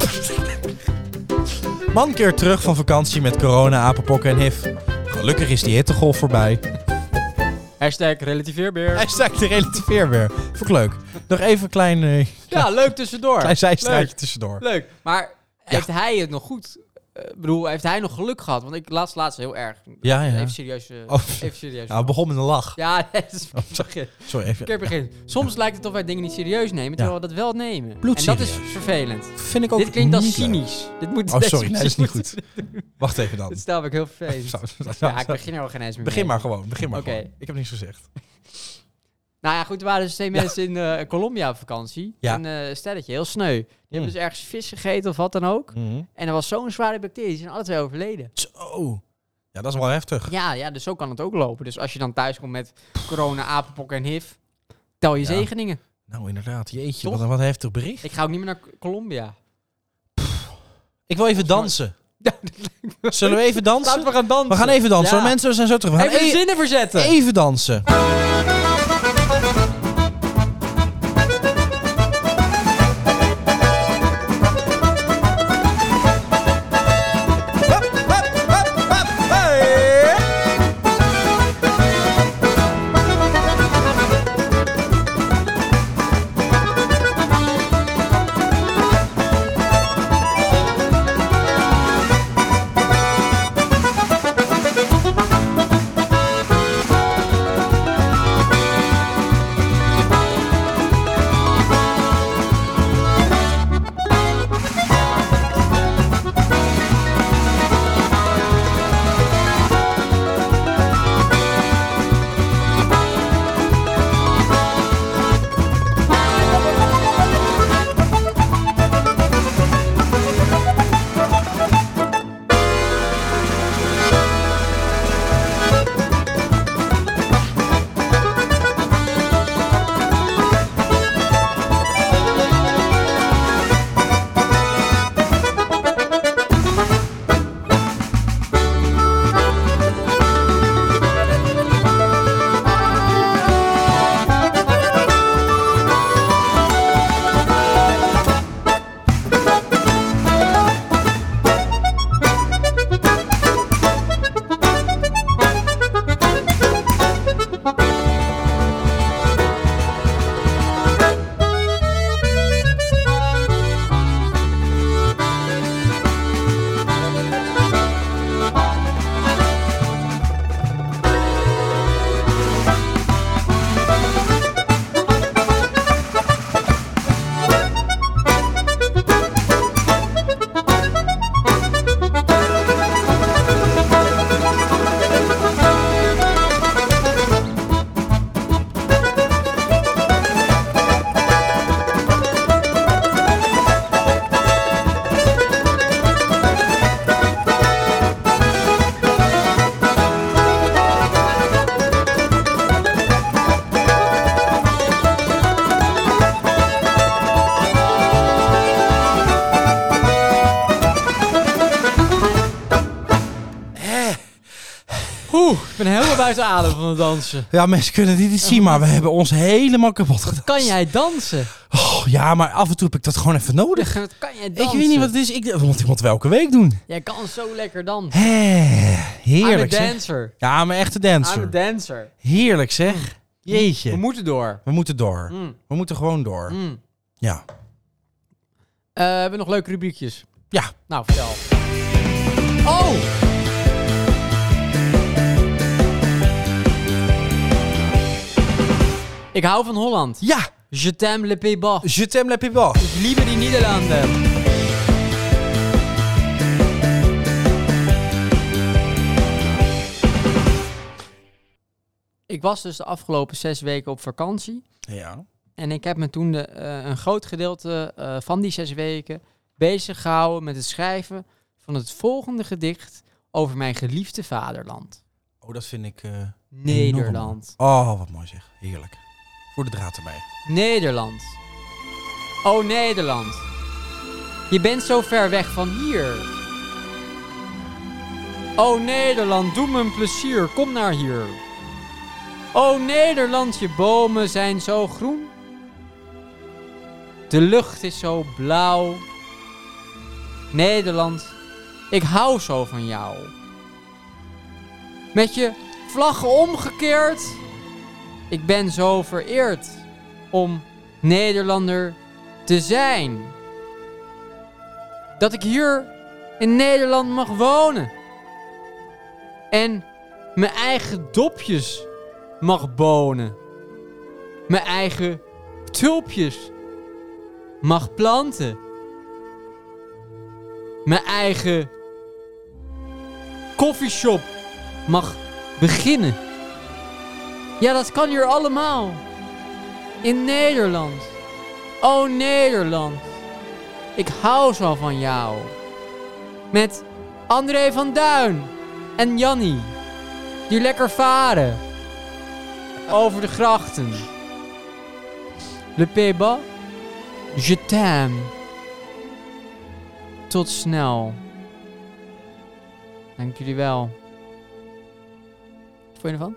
Speaker 1: Man keert terug van vakantie met corona, apenpokken en HIV. Gelukkig is die hittegolf voorbij.
Speaker 2: Hashtag relativeerbeer.
Speaker 1: Hij staat de relativeer weer. Vond ik leuk. Nog even een klein, eh,
Speaker 2: Ja, leuk tussendoor.
Speaker 1: klein zijstraatje
Speaker 2: Leuk.
Speaker 1: tussendoor.
Speaker 2: Leuk. Maar heeft hij het nog goed? Eh, Ik bedoel, heeft hij nog geluk gehad? Want ik laatst, laatst heel erg.
Speaker 1: Ja, ja.
Speaker 2: Even serieus. eh,
Speaker 1: Oh,
Speaker 2: Even serieus.
Speaker 1: ja, we begonnen met een lach.
Speaker 2: Ja, dat is verkeerd.
Speaker 1: Sorry, even.
Speaker 2: Soms lijkt het of wij dingen niet serieus nemen, terwijl we dat wel nemen. En dat
Speaker 1: Bloedserieus.
Speaker 2: is vervelend.
Speaker 1: Vind ik ook
Speaker 2: Dit klinkt als
Speaker 1: niet leuk.
Speaker 2: cynisch. Dit moet
Speaker 1: Oh,
Speaker 2: deze
Speaker 1: sorry. Nee, dat is niet
Speaker 2: moet-
Speaker 1: goed. Wacht even dan.
Speaker 2: Dat stel ik heel vervelend. Ja, ik begin er al geen eens meer
Speaker 1: Begin
Speaker 2: mee.
Speaker 1: maar gewoon. Begin maar
Speaker 2: Oké.
Speaker 1: gewoon. Ik heb niks gezegd.
Speaker 2: Nou ja, goed, er waren dus twee
Speaker 1: Ja.
Speaker 2: mensen in eh, Colombia op vakantie.
Speaker 1: Ja. Hmm.
Speaker 2: En eh stelletje, heel sneu. Die hebben dus ergens vis gegeten of wat dan ook. En er was zo'n zware bacterie, ze zijn alle twee overleden.
Speaker 1: Mhm. Zo. Ja, dat is wel heftig.
Speaker 2: Ja, ja, dus zo kan het ook lopen. Dus als je dan thuis komt met corona, apenpokken en HIV, tel je
Speaker 1: Ja.
Speaker 2: zegeningen.
Speaker 1: Nou, inderdaad. Jeetje,
Speaker 2: Toch?
Speaker 1: wat een wat een heftig bericht.
Speaker 2: Ik ga ook niet meer naar C- Colombia.
Speaker 1: Ik wil even dansen. Zullen we even dansen?
Speaker 2: Laten we gaan dansen.
Speaker 1: We gaan even dansen.
Speaker 2: Ja.
Speaker 1: hoor. Mensen, we zijn zo terug. We gaan
Speaker 2: Even de
Speaker 1: e-
Speaker 2: zinnen verzetten.
Speaker 1: even dansen.
Speaker 2: Oeh, ik ben helemaal buiten adem van het dansen.
Speaker 1: Ja, mensen kunnen dit niet zien, maar we hebben ons helemaal kapot gedaan.
Speaker 2: Kan jij dansen?
Speaker 1: Oh, ja, maar af en toe heb ik dat gewoon even nodig.
Speaker 2: Wat Kan jij dansen?
Speaker 1: Ik weet niet wat het is. Ik, dat moet iemand welke week doen.
Speaker 2: Jij kan zo lekker dansen.
Speaker 1: Hé, heerlijk
Speaker 2: I'm a
Speaker 1: zeg.
Speaker 2: dancer.
Speaker 1: Ja, mijn echte
Speaker 2: I'm a
Speaker 1: dancer.
Speaker 2: dancer. Mm.
Speaker 1: Heerlijk zeg.
Speaker 2: We
Speaker 1: Jeetje.
Speaker 2: moeten door.
Speaker 1: We moeten door.
Speaker 2: Mm,
Speaker 1: We moeten gewoon door.
Speaker 2: mm.
Speaker 1: Ja.
Speaker 2: Eh, we hebben nog leuke rubriekjes.
Speaker 1: Ja.
Speaker 2: Nou, vertel. Oh! Ik hou van Holland.
Speaker 1: Ja.
Speaker 2: Je t'aime le Pays-Bas.
Speaker 1: Je t'aime la pibas.
Speaker 2: Ik liebe die Nederlanden. Ik was dus de afgelopen zes weken op vakantie.
Speaker 1: Ja.
Speaker 2: En ik heb me toen de, eh, een groot gedeelte eh, van die zes weken bezig gehouden met het schrijven van het volgende gedicht over mijn geliefde vaderland.
Speaker 1: Oh, dat vind ik... eh,
Speaker 2: Nederland.
Speaker 1: Oh, wat mooi zeg. Heerlijk. Voor de draad erbij.
Speaker 2: Nederland. O Nederland. Je bent zo ver weg van hier. O Nederland, doe me een plezier, kom naar hier. O Nederland, je bomen zijn zo groen. De lucht is zo blauw. Nederland, ik hou zo van jou. Met je vlaggen omgekeerd Ik ben zo vereerd om Nederlander te zijn. Dat ik hier in Nederland mag wonen. En mijn eigen dopjes mag bonen. Mijn eigen tulpjes mag planten. Mijn eigen koffieshop mag beginnen. Ja, dat kan hier allemaal. In Nederland. Oh Nederland. Ik hou zo van jou. Met André van Duin en Jannie. Die lekker varen. Over de grachten. Le Peba. Je t'aime. Tot snel. Dank jullie wel. Wat vond je ervan?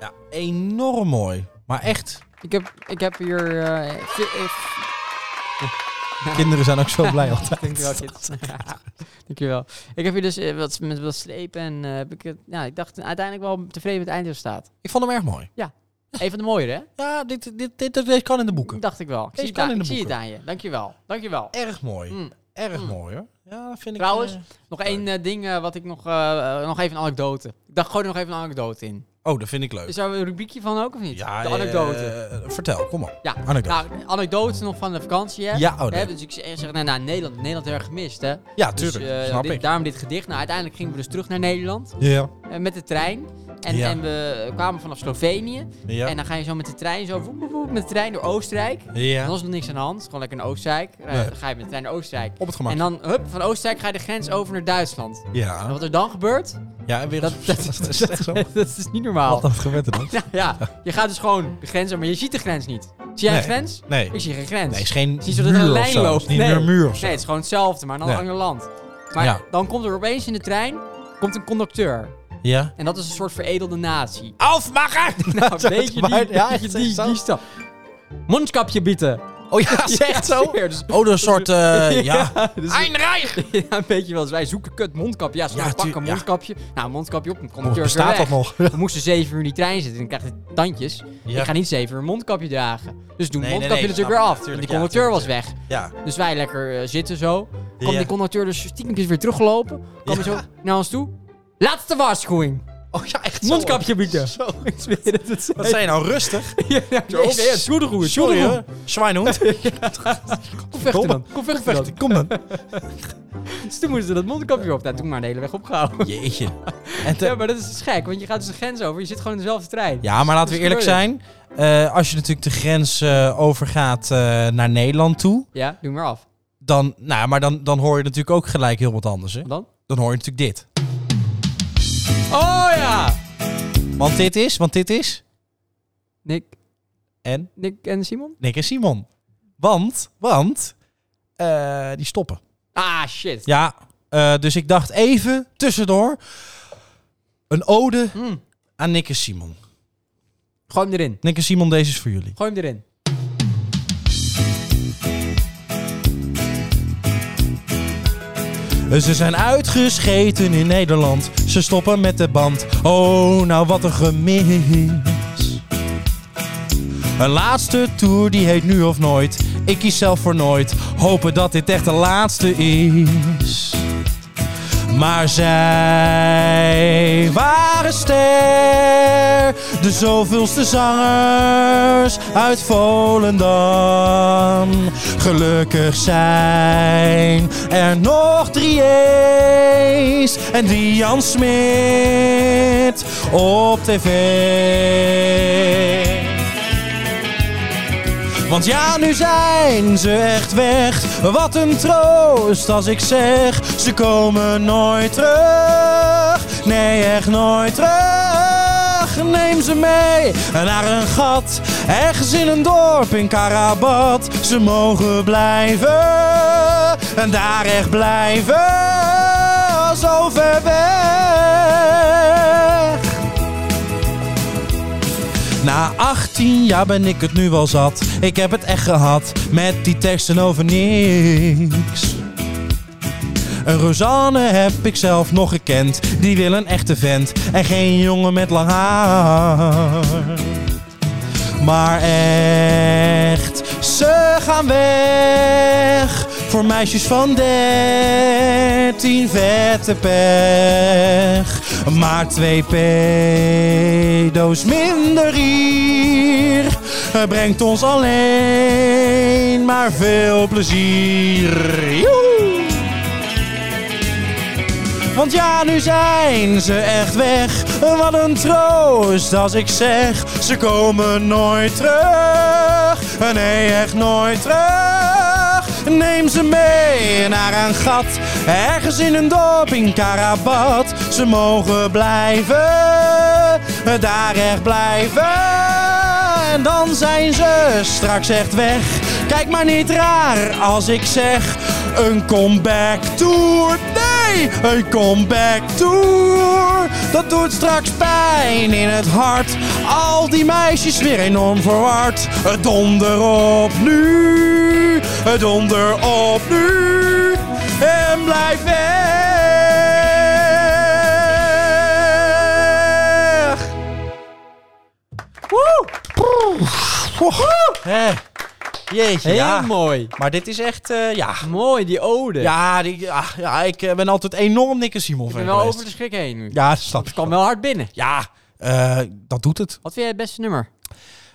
Speaker 1: Ja, enorm mooi. Maar echt,
Speaker 2: Ik heb, ik heb hier... eh, vi- eh,
Speaker 1: kinderen zijn ook zo blij altijd.
Speaker 2: Dankjewel, kids. Dankjewel. Ik heb hier dus eh, wat, met wat slepen en eh, heb ik, het- ja, ik dacht uiteindelijk wel tevreden met het eindresultaat.
Speaker 1: Ik vond hem erg mooi.
Speaker 2: Een van de mooiere, hè?
Speaker 1: Ja, dit, dit, dit, dit, dit kan in de boeken.
Speaker 2: Dacht ik wel. Ik,
Speaker 1: Deze
Speaker 2: zie het,
Speaker 1: kan
Speaker 2: aan,
Speaker 1: in de
Speaker 2: ik zie het
Speaker 1: boeken.
Speaker 2: aan je. Dankjewel. Dankjewel.
Speaker 1: Erg mooi.
Speaker 2: Mm.
Speaker 1: Erg
Speaker 2: Mm.
Speaker 1: mooi hoor. Ja, dat vind
Speaker 2: Trouwens,
Speaker 1: ik... eh,
Speaker 2: Nog
Speaker 1: Leuk.
Speaker 2: één eh, ding eh, wat ik nog, eh, eh, nog even een anekdote. Ik dacht, gooi er nog even een anekdote in.
Speaker 1: oh, dat vind ik leuk.
Speaker 2: Is daar een rubriekje van ook of niet?
Speaker 1: ja,
Speaker 2: de anekdote.
Speaker 1: eh, vertel, kom op.
Speaker 2: ja.
Speaker 1: Anekdote.
Speaker 2: Nou, anekdote nog van de vakantie, hè?
Speaker 1: ja, oh, nee.
Speaker 2: Hè, dus ik zeg, zeg, nou, nou, Nederland, Nederland heel erg gemist, hè?
Speaker 1: ja,
Speaker 2: Dus,
Speaker 1: tuurlijk.
Speaker 2: eh,
Speaker 1: snap
Speaker 2: dit-
Speaker 1: ik.
Speaker 2: Daarom dit gedicht. Nou, uiteindelijk gingen we dus terug naar Nederland.
Speaker 1: Ja,
Speaker 2: eh, met de trein. En,
Speaker 1: Ja.
Speaker 2: en we kwamen vanaf Slovenië.
Speaker 1: ja,
Speaker 2: En dan ga je zo met de trein, zo woep, woep, woep, met de trein door Oostenrijk. En dan
Speaker 1: ja.
Speaker 2: was er nog niks aan de hand. Gewoon lekker naar Oostenrijk. Rij-
Speaker 1: Nee.
Speaker 2: Dan ga je met de trein naar Oostenrijk.
Speaker 1: Op het
Speaker 2: En
Speaker 1: gemak.
Speaker 2: dan, hup, van Oostenrijk ga je de grens over naar Duitsland. En
Speaker 1: Ja.
Speaker 2: wat er dan gebeurt,
Speaker 1: Ja, en weer
Speaker 2: dat,
Speaker 1: eens-
Speaker 2: dat,
Speaker 1: dat is echt zo.
Speaker 2: dat is niet
Speaker 1: Wat
Speaker 2: normaal.
Speaker 1: dat gewend dan?
Speaker 2: Nou ja, je gaat dus gewoon de grens over, maar je ziet de grens niet. Zie jij
Speaker 1: Nee.
Speaker 2: een grens?
Speaker 1: Nee.
Speaker 2: Ik zie geen grens.
Speaker 1: Nee, is geen
Speaker 2: Het is niet zo dat er
Speaker 1: muur
Speaker 2: een
Speaker 1: of
Speaker 2: lijn
Speaker 1: zo. Het
Speaker 2: loopt.
Speaker 1: is Niet
Speaker 2: Nee.
Speaker 1: meer een muur of zo.
Speaker 2: Nee, het is gewoon hetzelfde, maar dan
Speaker 1: Nee.
Speaker 2: een ander land. Maar
Speaker 1: Ja.
Speaker 2: dan komt er opeens in de trein komt een conducteur.
Speaker 1: Ja.
Speaker 2: En dat is een soort veredelde natie.
Speaker 1: Afmaken!
Speaker 2: Nou, weet je die,
Speaker 1: Ja,
Speaker 2: weet je
Speaker 1: echt
Speaker 2: die,
Speaker 1: zo.
Speaker 2: die stap. Mondkapje bieten.
Speaker 1: Oh ja,
Speaker 2: Ja,
Speaker 1: zegt zo.
Speaker 2: zeker. Dus-
Speaker 1: Oh, dat is een soort, eh, ja.
Speaker 2: dus-
Speaker 1: Eindreich!
Speaker 2: ja, een beetje wel. Dus wij zoeken kut mondkapje. Ja, ze
Speaker 1: Ja,
Speaker 2: pakken
Speaker 1: tu-
Speaker 2: een
Speaker 1: ja.
Speaker 2: mondkapje. Nou, mondkapje op, dan komt
Speaker 1: Oh,
Speaker 2: de
Speaker 1: Bestaat dat nog?
Speaker 2: We moesten zeven uur in die trein zitten en dan krijg je tandjes.
Speaker 1: Ja.
Speaker 2: Ik ga niet zeven uur een mondkapje dragen. Dus doen
Speaker 1: Nee, nee,
Speaker 2: mondkapje
Speaker 1: nee, snap
Speaker 2: natuurlijk weer
Speaker 1: ik.
Speaker 2: af.
Speaker 1: Tuurlijk,
Speaker 2: en die
Speaker 1: ja,
Speaker 2: conducteur was
Speaker 1: tuurlijk,
Speaker 2: weg.
Speaker 1: Ja.
Speaker 2: Dus wij lekker eh, zitten zo. Kwam
Speaker 1: Ja.
Speaker 2: die conducteur dus stiekempjes weer teruggelopen. Kwam
Speaker 1: Ja.
Speaker 2: hij zo naar ons toe. Laatste waarschuwing.
Speaker 1: Oh ja, echt
Speaker 2: Mondkapje bieten.
Speaker 1: Zo.
Speaker 2: Ik zweer het. het
Speaker 1: Wat
Speaker 2: zei-
Speaker 1: zijn nou rustig?
Speaker 2: Ja, nee, nee, nee, Sjoerderoe,
Speaker 1: Sorry
Speaker 2: Sjoerderoe.
Speaker 1: hoor. Zwijnhoed.
Speaker 2: Kom vechten dan. Kom vechten dan.
Speaker 1: Kom dan.
Speaker 2: Dus toen moesten ze dat mondkapje op. Nou, toen maar de hele weg opgehouden.
Speaker 1: Jeetje. En te-
Speaker 2: Ja, maar dat is dus gek, want je gaat dus de grens over. Je zit gewoon in dezelfde trein.
Speaker 1: Ja, maar laten we
Speaker 2: Dus
Speaker 1: eerlijk zijn. eh, als je natuurlijk de grens eh, overgaat eh, naar Nederland toe,
Speaker 2: Ja, doe maar af.
Speaker 1: dan, nou, maar dan, dan hoor je natuurlijk ook gelijk heel wat anders. Hè?
Speaker 2: Wat dan?
Speaker 1: Dan hoor je natuurlijk dit.
Speaker 2: Oh ja!
Speaker 1: Want dit is, want dit is.
Speaker 2: Nick,
Speaker 1: En
Speaker 2: Nick en Simon?
Speaker 1: Nick en Simon. Want, want, eh, die stoppen.
Speaker 2: Ah, shit.
Speaker 1: Ja, eh, dus ik dacht even tussendoor een ode
Speaker 2: Mm.
Speaker 1: aan Nick en Simon.
Speaker 2: Gooi hem erin.
Speaker 1: Nick en Simon, deze is voor jullie.
Speaker 2: Gooi hem erin.
Speaker 1: Ze zijn uitgescheten in Nederland. Ze stoppen met de band. Oh, nou wat een gemis. Een laatste tour die heet nu of nooit. Ik kies zelf voor nooit. Hopen dat dit echt de laatste is. Maar zij waren ster, de zoveelste zangers uit Volendam. Gelukkig zijn er nog drie E's en Dian Smit op tv. Want ja, nu zijn ze echt weg. Wat een troost als ik zeg, ze komen nooit terug. Nee, echt nooit terug. Neem ze mee naar een gat, ergens in een dorp in Karabat. Ze mogen blijven en daar echt blijven. Zo ver weg. Na 18 jaar ben ik het nu wel zat. Ik heb het echt gehad met die teksten over niks. Een Rosanne heb ik zelf nog gekend. Die wil een echte vent en geen jongen met lang haar. maar echt. Ze gaan weg voor meisjes van dertien vette pech. Maar twee pedo's minder hier eh, brengt ons alleen maar veel plezier. Joehoe! Want ja, nu zijn ze echt weg. Wat een troost als ik zeg, ze komen nooit terug. Nee, echt nooit terug. Neem ze mee naar een gat, ergens in een dorp in Karabat. Ze mogen blijven, daar echt blijven. En dan zijn ze straks echt weg. Kijk maar niet raar als ik zeg: Een comeback tour. Nee, een comeback tour. Dat doet straks pijn in het hart. Al die meisjes weer enorm verward. Donder op nu, donder op nu. En blijf weg. Woe! Hè. Jeetje,
Speaker 2: Heel
Speaker 1: ja.
Speaker 2: mooi.
Speaker 1: Maar dit is echt, eh, ja.
Speaker 2: Mooi, die ode.
Speaker 1: Ja, die, ah, ja, ik eh, ben altijd enorm Nikke Simon
Speaker 2: ik
Speaker 1: fan
Speaker 2: ben wel
Speaker 1: geweest.
Speaker 2: over de schrik heen nu.
Speaker 1: Ja, dat snap ik
Speaker 2: Kwam
Speaker 1: wel.
Speaker 2: wel hard binnen.
Speaker 1: Ja, eh, dat doet het.
Speaker 2: Wat vind jij het beste nummer?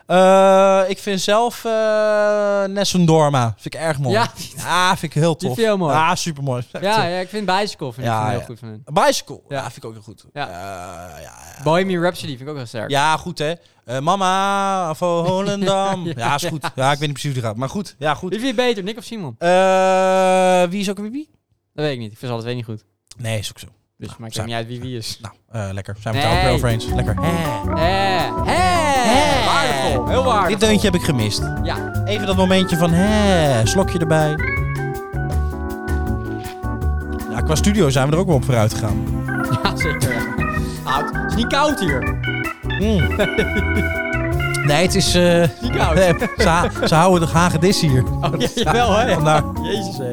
Speaker 1: Eh, ik vind zelf eh Nessendorma, vind ik erg mooi.
Speaker 2: Ja.
Speaker 1: Ja, vind ik heel
Speaker 2: Die
Speaker 1: tof.
Speaker 2: vind je heel mooi.
Speaker 1: Ja, supermooi.
Speaker 2: Ja, ja, ik vind Bicycle vind ik
Speaker 1: Ja,
Speaker 2: vind ik heel
Speaker 1: ja.
Speaker 2: goed van hen.
Speaker 1: Bicycle, ja.
Speaker 2: Ja.
Speaker 1: vind ik ook heel goed.
Speaker 2: Ja.
Speaker 1: Eh, ja, ja.
Speaker 2: Bohemian Rhapsody vind ik ook heel sterk.
Speaker 1: Ja, goed hè. Eh, mama van Holendam. ja, is goed. Ja, ik weet niet precies hoe die gaat. Maar goed, ja, goed.
Speaker 2: Wie vind je beter, Nick of Simon?
Speaker 1: Eh, wie is ook weer wie?
Speaker 2: Dat weet ik niet. Ik vind ze alle twee niet goed.
Speaker 1: Nee, is ook zo.
Speaker 2: Dus
Speaker 1: Nou,
Speaker 2: maakt het
Speaker 1: zijn-
Speaker 2: niet uit wie wie is.
Speaker 1: Nou, eh, lekker. Zijn we
Speaker 2: Nee.
Speaker 1: het daar ook weer over eens. Lekker.
Speaker 2: Hé. Eh, Hé. Waardevol. Heel waardevol.
Speaker 1: Dit deuntje heb ik gemist.
Speaker 2: Ja.
Speaker 1: Even dat momentje van hè, slokje erbij. Ja, qua studio zijn we er ook wel op vooruit gegaan.
Speaker 2: Ja, zeker. ja. Nou, het is niet koud hier.
Speaker 1: Mm. Nee, het is... eh,
Speaker 2: Niet koud.
Speaker 1: nee, ze, ha- ze houden de hagedis hier.
Speaker 2: Oh, ja, jawel, hè?
Speaker 1: Vandaar.
Speaker 2: Jezus, hé.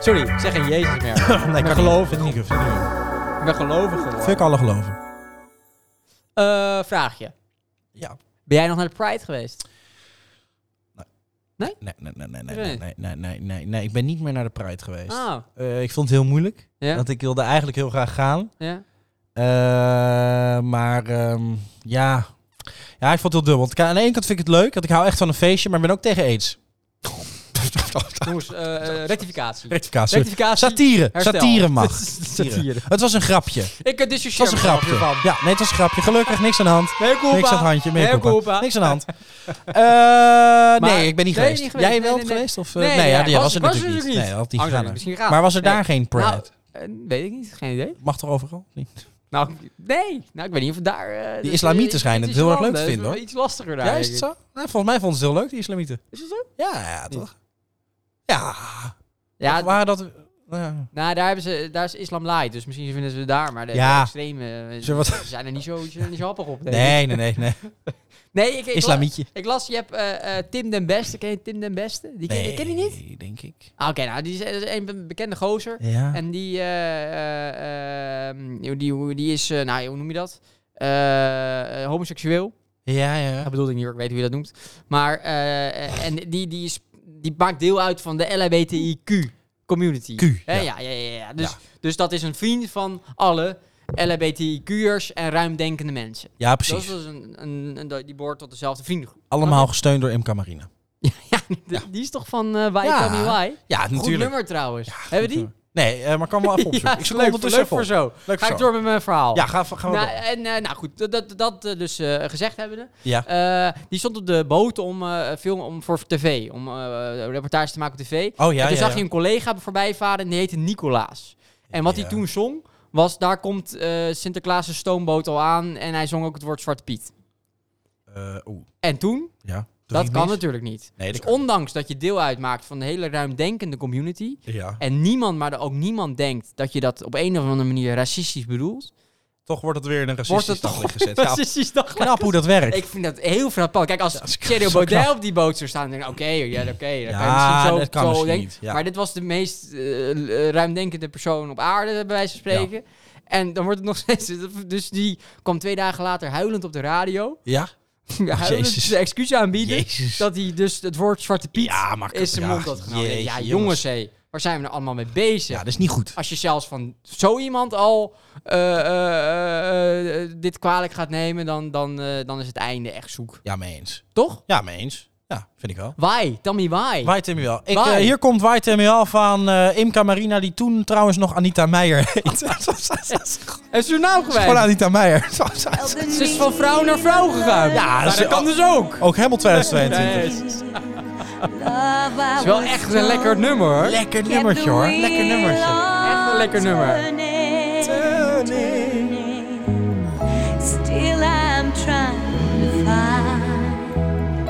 Speaker 2: Sorry, ik zeg geen Jezus meer.
Speaker 1: Nee,
Speaker 2: Maar
Speaker 1: kan
Speaker 2: geloof
Speaker 1: niet. Vind ik niet. Vind ik niet.
Speaker 2: Ik ben gelovig geworden.
Speaker 1: Fuck alle geloven.
Speaker 2: Eh, vraagje.
Speaker 1: Ja.
Speaker 2: Ben jij nog naar de Pride geweest?
Speaker 1: Nee, nee, nee, nee,
Speaker 2: Nee.
Speaker 1: nee, nee, nee, nee, nee, nee. Ik ben niet meer naar de Pride geweest.
Speaker 2: Oh,
Speaker 1: Eh, ik vond het heel moeilijk.
Speaker 2: Ja?
Speaker 1: Want ik wilde eigenlijk heel graag gaan.
Speaker 2: ja.
Speaker 1: Eh, maar ehm, ja. ja, ik vond het heel dubbel. Want ik- aan de ene kant vind ik het leuk, want ik hou echt van een feestje, maar ik ben ook tegen aids.
Speaker 2: Jongens, eh, eh, rectificatie.
Speaker 1: Rectificatie.
Speaker 2: Rectificatie.
Speaker 1: Satire.
Speaker 2: Herstel.
Speaker 1: Satire mag.
Speaker 2: Satire.
Speaker 1: Het was een grapje. Het
Speaker 2: Ik eh,
Speaker 1: was
Speaker 2: dissocieer
Speaker 1: een
Speaker 2: mezelf
Speaker 1: grapje.
Speaker 2: hiervan.
Speaker 1: Ja, nee, het was een grapje. Gelukkig niks aan de hand.
Speaker 2: Nee, culpa.
Speaker 1: Niks aan het handje. meer
Speaker 2: Nee,
Speaker 1: culpa.
Speaker 2: culpa.
Speaker 1: Niks aan de hand. Eh, nee, ik ben niet
Speaker 2: ben je
Speaker 1: geweest.
Speaker 2: niet geweest?
Speaker 1: Jij
Speaker 2: Nee,
Speaker 1: wel
Speaker 2: nee, nee.
Speaker 1: geweest? Of, eh,
Speaker 2: Nee,
Speaker 1: nee,
Speaker 2: ja,
Speaker 1: ja, die
Speaker 2: was-
Speaker 1: was er
Speaker 2: was
Speaker 1: natuurlijk niet. Nee, dat had niet
Speaker 2: Oh,
Speaker 1: gedaan.
Speaker 2: nee,
Speaker 1: hè.
Speaker 2: misschien gaan.
Speaker 1: Maar was er
Speaker 2: Nee.
Speaker 1: daar geen pride?
Speaker 2: Nou, eh, weet ik niet, geen idee.
Speaker 1: Mag toch overal? Niet.
Speaker 2: Nou, ik- nee. Nou, ik weet niet of het daar... eh, dat-
Speaker 1: islamieten
Speaker 2: eh,
Speaker 1: schijnen
Speaker 2: in
Speaker 1: het heel erg leuk te
Speaker 2: Zwitserland,
Speaker 1: vinden,
Speaker 2: eh,
Speaker 1: hoor.
Speaker 2: Iets lastiger daar.
Speaker 1: Ja, is
Speaker 2: denk
Speaker 1: het
Speaker 2: ik.
Speaker 1: zo? Nou, volgens mij vonden ze het heel leuk, die islamieten.
Speaker 2: Is het zo?
Speaker 1: Ja, ja, toch? Ja,
Speaker 2: Ja,
Speaker 1: waren dat... nou ja.
Speaker 2: nou, daar, hebben ze, daar is islam light, dus misschien vinden ze het daar. Maar de
Speaker 1: Ja.
Speaker 2: de extreme eh,
Speaker 1: Ze wat-
Speaker 2: ze zijn er niet zo, ze zijn niet zo happig op. denk ik.
Speaker 1: Nee, nee, nee. nee.
Speaker 2: nee ik, ik,
Speaker 1: Islamietje.
Speaker 2: Ik las, je hebt eh, eh, Tim den Beste. Ken je Tim den Beste? Die ken, die ken je niet?
Speaker 1: Nee, denk ik.
Speaker 2: Ah, Oké, nou, die is, dat is een be- bekende gozer.
Speaker 1: Ja.
Speaker 2: En die, eh, eh, eh, die, hoe- die is, eh, nou, hoe noem je dat? Eh, eh, homoseksueel.
Speaker 1: ja, ja.
Speaker 2: Dat bedoelde ik niet hoor, ik weet hoe je dat noemt. Maar, eh, eh, en die, die, is, die maakt deel uit van de LHBTIQ community.
Speaker 1: Q,
Speaker 2: Hè,
Speaker 1: ja.
Speaker 2: Ja, ja, ja, ja. Dus,
Speaker 1: Ja.
Speaker 2: dus dat is een vriend van alle LHBTIQ'ers en ruimdenkende mensen.
Speaker 1: Ja, precies.
Speaker 2: Dat is dus een, een, een- die behoort tot dezelfde vriendengroep.
Speaker 1: Allemaal gesteund door MK Marina.
Speaker 2: Ja, die, die is toch van eh Why
Speaker 1: Ja,
Speaker 2: Tell Me Why?
Speaker 1: Ja,
Speaker 2: Goed nummer trouwens. Hebben we die?
Speaker 1: Nee, eh, maar kan wel even opzoeken.
Speaker 2: Ja,
Speaker 1: ik zoek
Speaker 2: leuk,
Speaker 1: ondertussen
Speaker 2: leuk
Speaker 1: even
Speaker 2: voor
Speaker 1: op.
Speaker 2: zo.
Speaker 1: Leuk
Speaker 2: Ga
Speaker 1: zo.
Speaker 2: ik door met mijn verhaal.
Speaker 1: Ja, ga, gaan we
Speaker 2: Nou,
Speaker 1: door.
Speaker 2: en, eh, nou goed, dat, dat, dat eh, dus eh, gezegd hebbende.
Speaker 1: Ja.
Speaker 2: Eh, die stond op de boot om, eh, film, om, voor tv, om eh reportage te maken op tv.
Speaker 1: Oh ja,
Speaker 2: en toen
Speaker 1: ja,
Speaker 2: zag
Speaker 1: ja.
Speaker 2: je een collega voorbij varen en die heette Nicolaas. En wat
Speaker 1: Ja.
Speaker 2: hij toen zong, was daar komt eh Sinterklaas' stoomboot al aan en hij zong ook het woord Zwarte Piet.
Speaker 1: Eh, Oeh,
Speaker 2: En toen,
Speaker 1: ja. Doe
Speaker 2: dat
Speaker 1: niet
Speaker 2: kan
Speaker 1: mis.
Speaker 2: natuurlijk niet.
Speaker 1: Nee,
Speaker 2: dus
Speaker 1: dat kan
Speaker 2: ondanks dat je deel uitmaakt van de hele ruimdenkende community,
Speaker 1: Ja.
Speaker 2: en niemand, maar ook niemand denkt dat je dat op een of andere manier racistisch bedoelt,
Speaker 1: Toch wordt het weer in een
Speaker 2: wordt
Speaker 1: racistisch
Speaker 2: het toch
Speaker 1: stand gezet. Ja,
Speaker 2: racistisch daglicht.
Speaker 1: knap hoe dat werkt.
Speaker 2: Ik vind dat heel frappant. Kijk, als
Speaker 1: is
Speaker 2: Thierry
Speaker 1: zo
Speaker 2: Baudet
Speaker 1: knap.
Speaker 2: op die boot zou staan, dan denk ik, oké, ja, oké. dan kan je
Speaker 1: Ja,
Speaker 2: misschien zo,
Speaker 1: dat kan
Speaker 2: zo
Speaker 1: misschien
Speaker 2: denken.
Speaker 1: niet, ja.
Speaker 2: Maar dit was de meest eh, ruimdenkende persoon op aarde, bij wijze van spreken. En dan wordt het nog steeds... Dus die kwam twee dagen later huilend op de radio.
Speaker 1: Ja?
Speaker 2: ja,
Speaker 1: Jezus.
Speaker 2: dus de excuus aanbieden
Speaker 1: Jezus.
Speaker 2: dat hij dus het woord Zwarte Piet
Speaker 1: ja, maar
Speaker 2: is zijn
Speaker 1: ja,
Speaker 2: mond uitgenomen.
Speaker 1: jeetje,
Speaker 2: Ja, jongens, hé, waar zijn we nou allemaal mee bezig?
Speaker 1: Ja, dat is niet goed.
Speaker 2: Als je zelfs van zo iemand al eh, eh, eh, dit kwalijk gaat nemen, dan, dan, eh, dan is het einde echt zoek.
Speaker 1: Ja, mee eens.
Speaker 2: Toch?
Speaker 1: Ja, mee eens. Ja, vind ik wel.
Speaker 2: Why? Tell me why.
Speaker 1: Waait hem wel. Ik,
Speaker 2: Waai.
Speaker 1: eh, hier komt Waait hem wel van eh, Imka Marina, die toen trouwens nog Anita Meijer heette. Het is
Speaker 2: En zo nou
Speaker 1: Gewoon
Speaker 2: geweest.
Speaker 1: Anita Meijer.
Speaker 2: Ze is van vrouw naar vrouw gegaan.
Speaker 1: Ja,
Speaker 2: Maar
Speaker 1: ze-
Speaker 2: dat kan dus ook.
Speaker 1: Ook helemaal 2022.
Speaker 2: Het is wel echt een lekker nummer hoor.
Speaker 1: Lekker nummertje hoor. Lekker nummertje.
Speaker 2: Echt een lekker nummer.
Speaker 3: Still I'm trying to find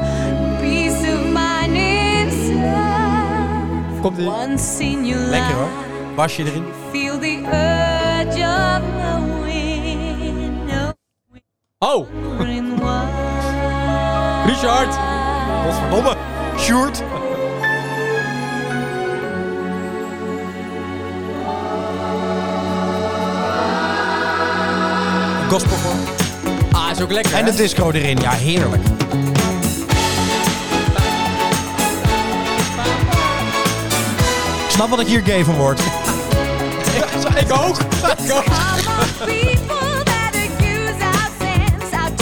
Speaker 3: peace of mind inside.
Speaker 2: Komt ie.
Speaker 3: Once in your
Speaker 1: Lekker hoor.
Speaker 3: life,
Speaker 1: Wasje erin.
Speaker 3: feel the urge of knowing,
Speaker 2: Oh,
Speaker 3: knowing why.
Speaker 2: Richard.
Speaker 1: Godverdomme. Sjoerd. Gospel voor.
Speaker 2: Ah, is ook lekker.
Speaker 1: En
Speaker 2: hè?
Speaker 1: de disco erin. Ja, heerlijk. Ik Snap wat ik hier gay van word.
Speaker 2: Ik ook.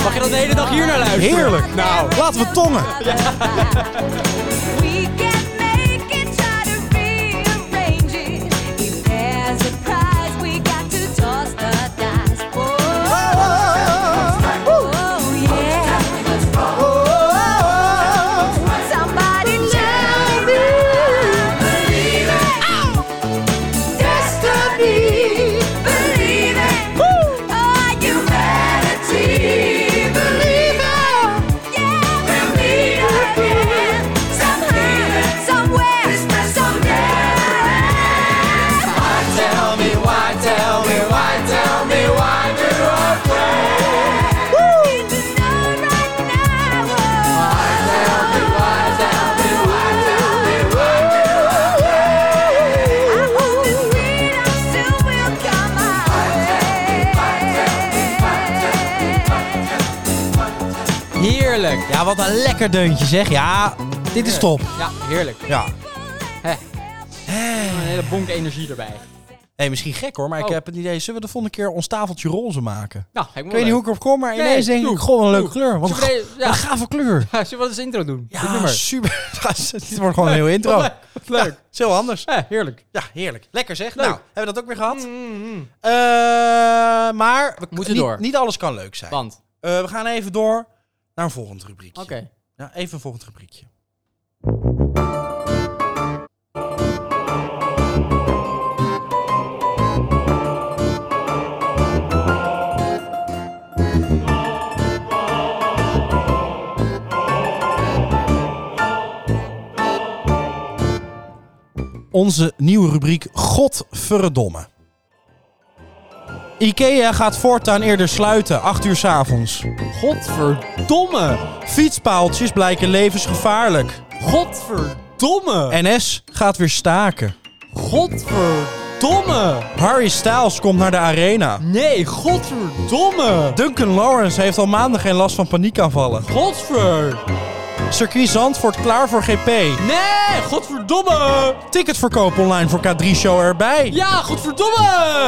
Speaker 2: Mag je dan de hele dag hier naar luisteren?
Speaker 1: Heerlijk.
Speaker 2: Nou.
Speaker 1: Laten we tongen.
Speaker 3: We can make it, try to rearrange it. If there's a prize, we got to toss the dice. Oh, oh yeah. Somebody tell me. Oh. Believe it. Destiny. Believe it. Oh, humanity. Believe it. Yeah. Believe it. Somehow, somewhere, someday.
Speaker 2: Tell me why, tell me why, tell me why do I
Speaker 3: Need to know right now. I hope this freedom soon will come my way.
Speaker 2: Heerlijk.
Speaker 1: Ja, wat een lekker deuntje zeg. Ja, dit is top.
Speaker 2: Ja, heerlijk.
Speaker 1: Ja.
Speaker 2: Hè. Een hele bonk energie erbij.
Speaker 1: Hey, misschien gek hoor, maar ik
Speaker 2: Oh.
Speaker 1: heb het idee. Zullen we de volgende keer ons tafeltje roze maken?
Speaker 2: Nou, ik
Speaker 1: Ik weet niet hoe ik erop kom, maar ineens denk ik, goh, wat een leuke kleur. Wat een,
Speaker 2: Zullen we
Speaker 1: ga-
Speaker 2: deze- ja.
Speaker 1: wat een gave kleur.
Speaker 2: Ja, zullen we wat eens intro doen? Dit
Speaker 1: Ja,
Speaker 2: nummer.
Speaker 1: super. Dit wordt gewoon een heel intro.
Speaker 2: Wat leuk. Wat leuk.
Speaker 1: Zo anders.
Speaker 2: Hè, Eh, heerlijk.
Speaker 1: Ja, heerlijk. Lekker zeg.
Speaker 2: Leuk.
Speaker 1: Nou, hebben we dat ook weer gehad?
Speaker 2: Mm, mm.
Speaker 1: Eh, maar we
Speaker 2: Moeten
Speaker 1: niet,
Speaker 2: door.
Speaker 1: Niet alles kan leuk zijn.
Speaker 2: Want,
Speaker 1: Eh, we gaan even door naar een volgend rubriekje.
Speaker 2: oké.
Speaker 1: Ja, Nou, even een volgend rubriekje. Onze nieuwe rubriek Godverdomme. IKEA gaat voortaan eerder sluiten, 8 uur 's avonds.
Speaker 2: Godverdomme.
Speaker 1: Fietspaaltjes blijken levensgevaarlijk.
Speaker 2: Godverdomme.
Speaker 1: NS gaat weer staken.
Speaker 2: Godverdomme.
Speaker 1: Harry Styles komt naar de arena.
Speaker 2: Nee, godverdomme.
Speaker 1: Duncan Lawrence heeft al maanden geen last van paniekaanvallen.
Speaker 2: Godver.
Speaker 1: Circuit Zandvoort klaar voor GP.
Speaker 2: Nee, godverdomme.
Speaker 1: Ticketverkoop online voor K3-show erbij.
Speaker 2: Ja, godverdomme.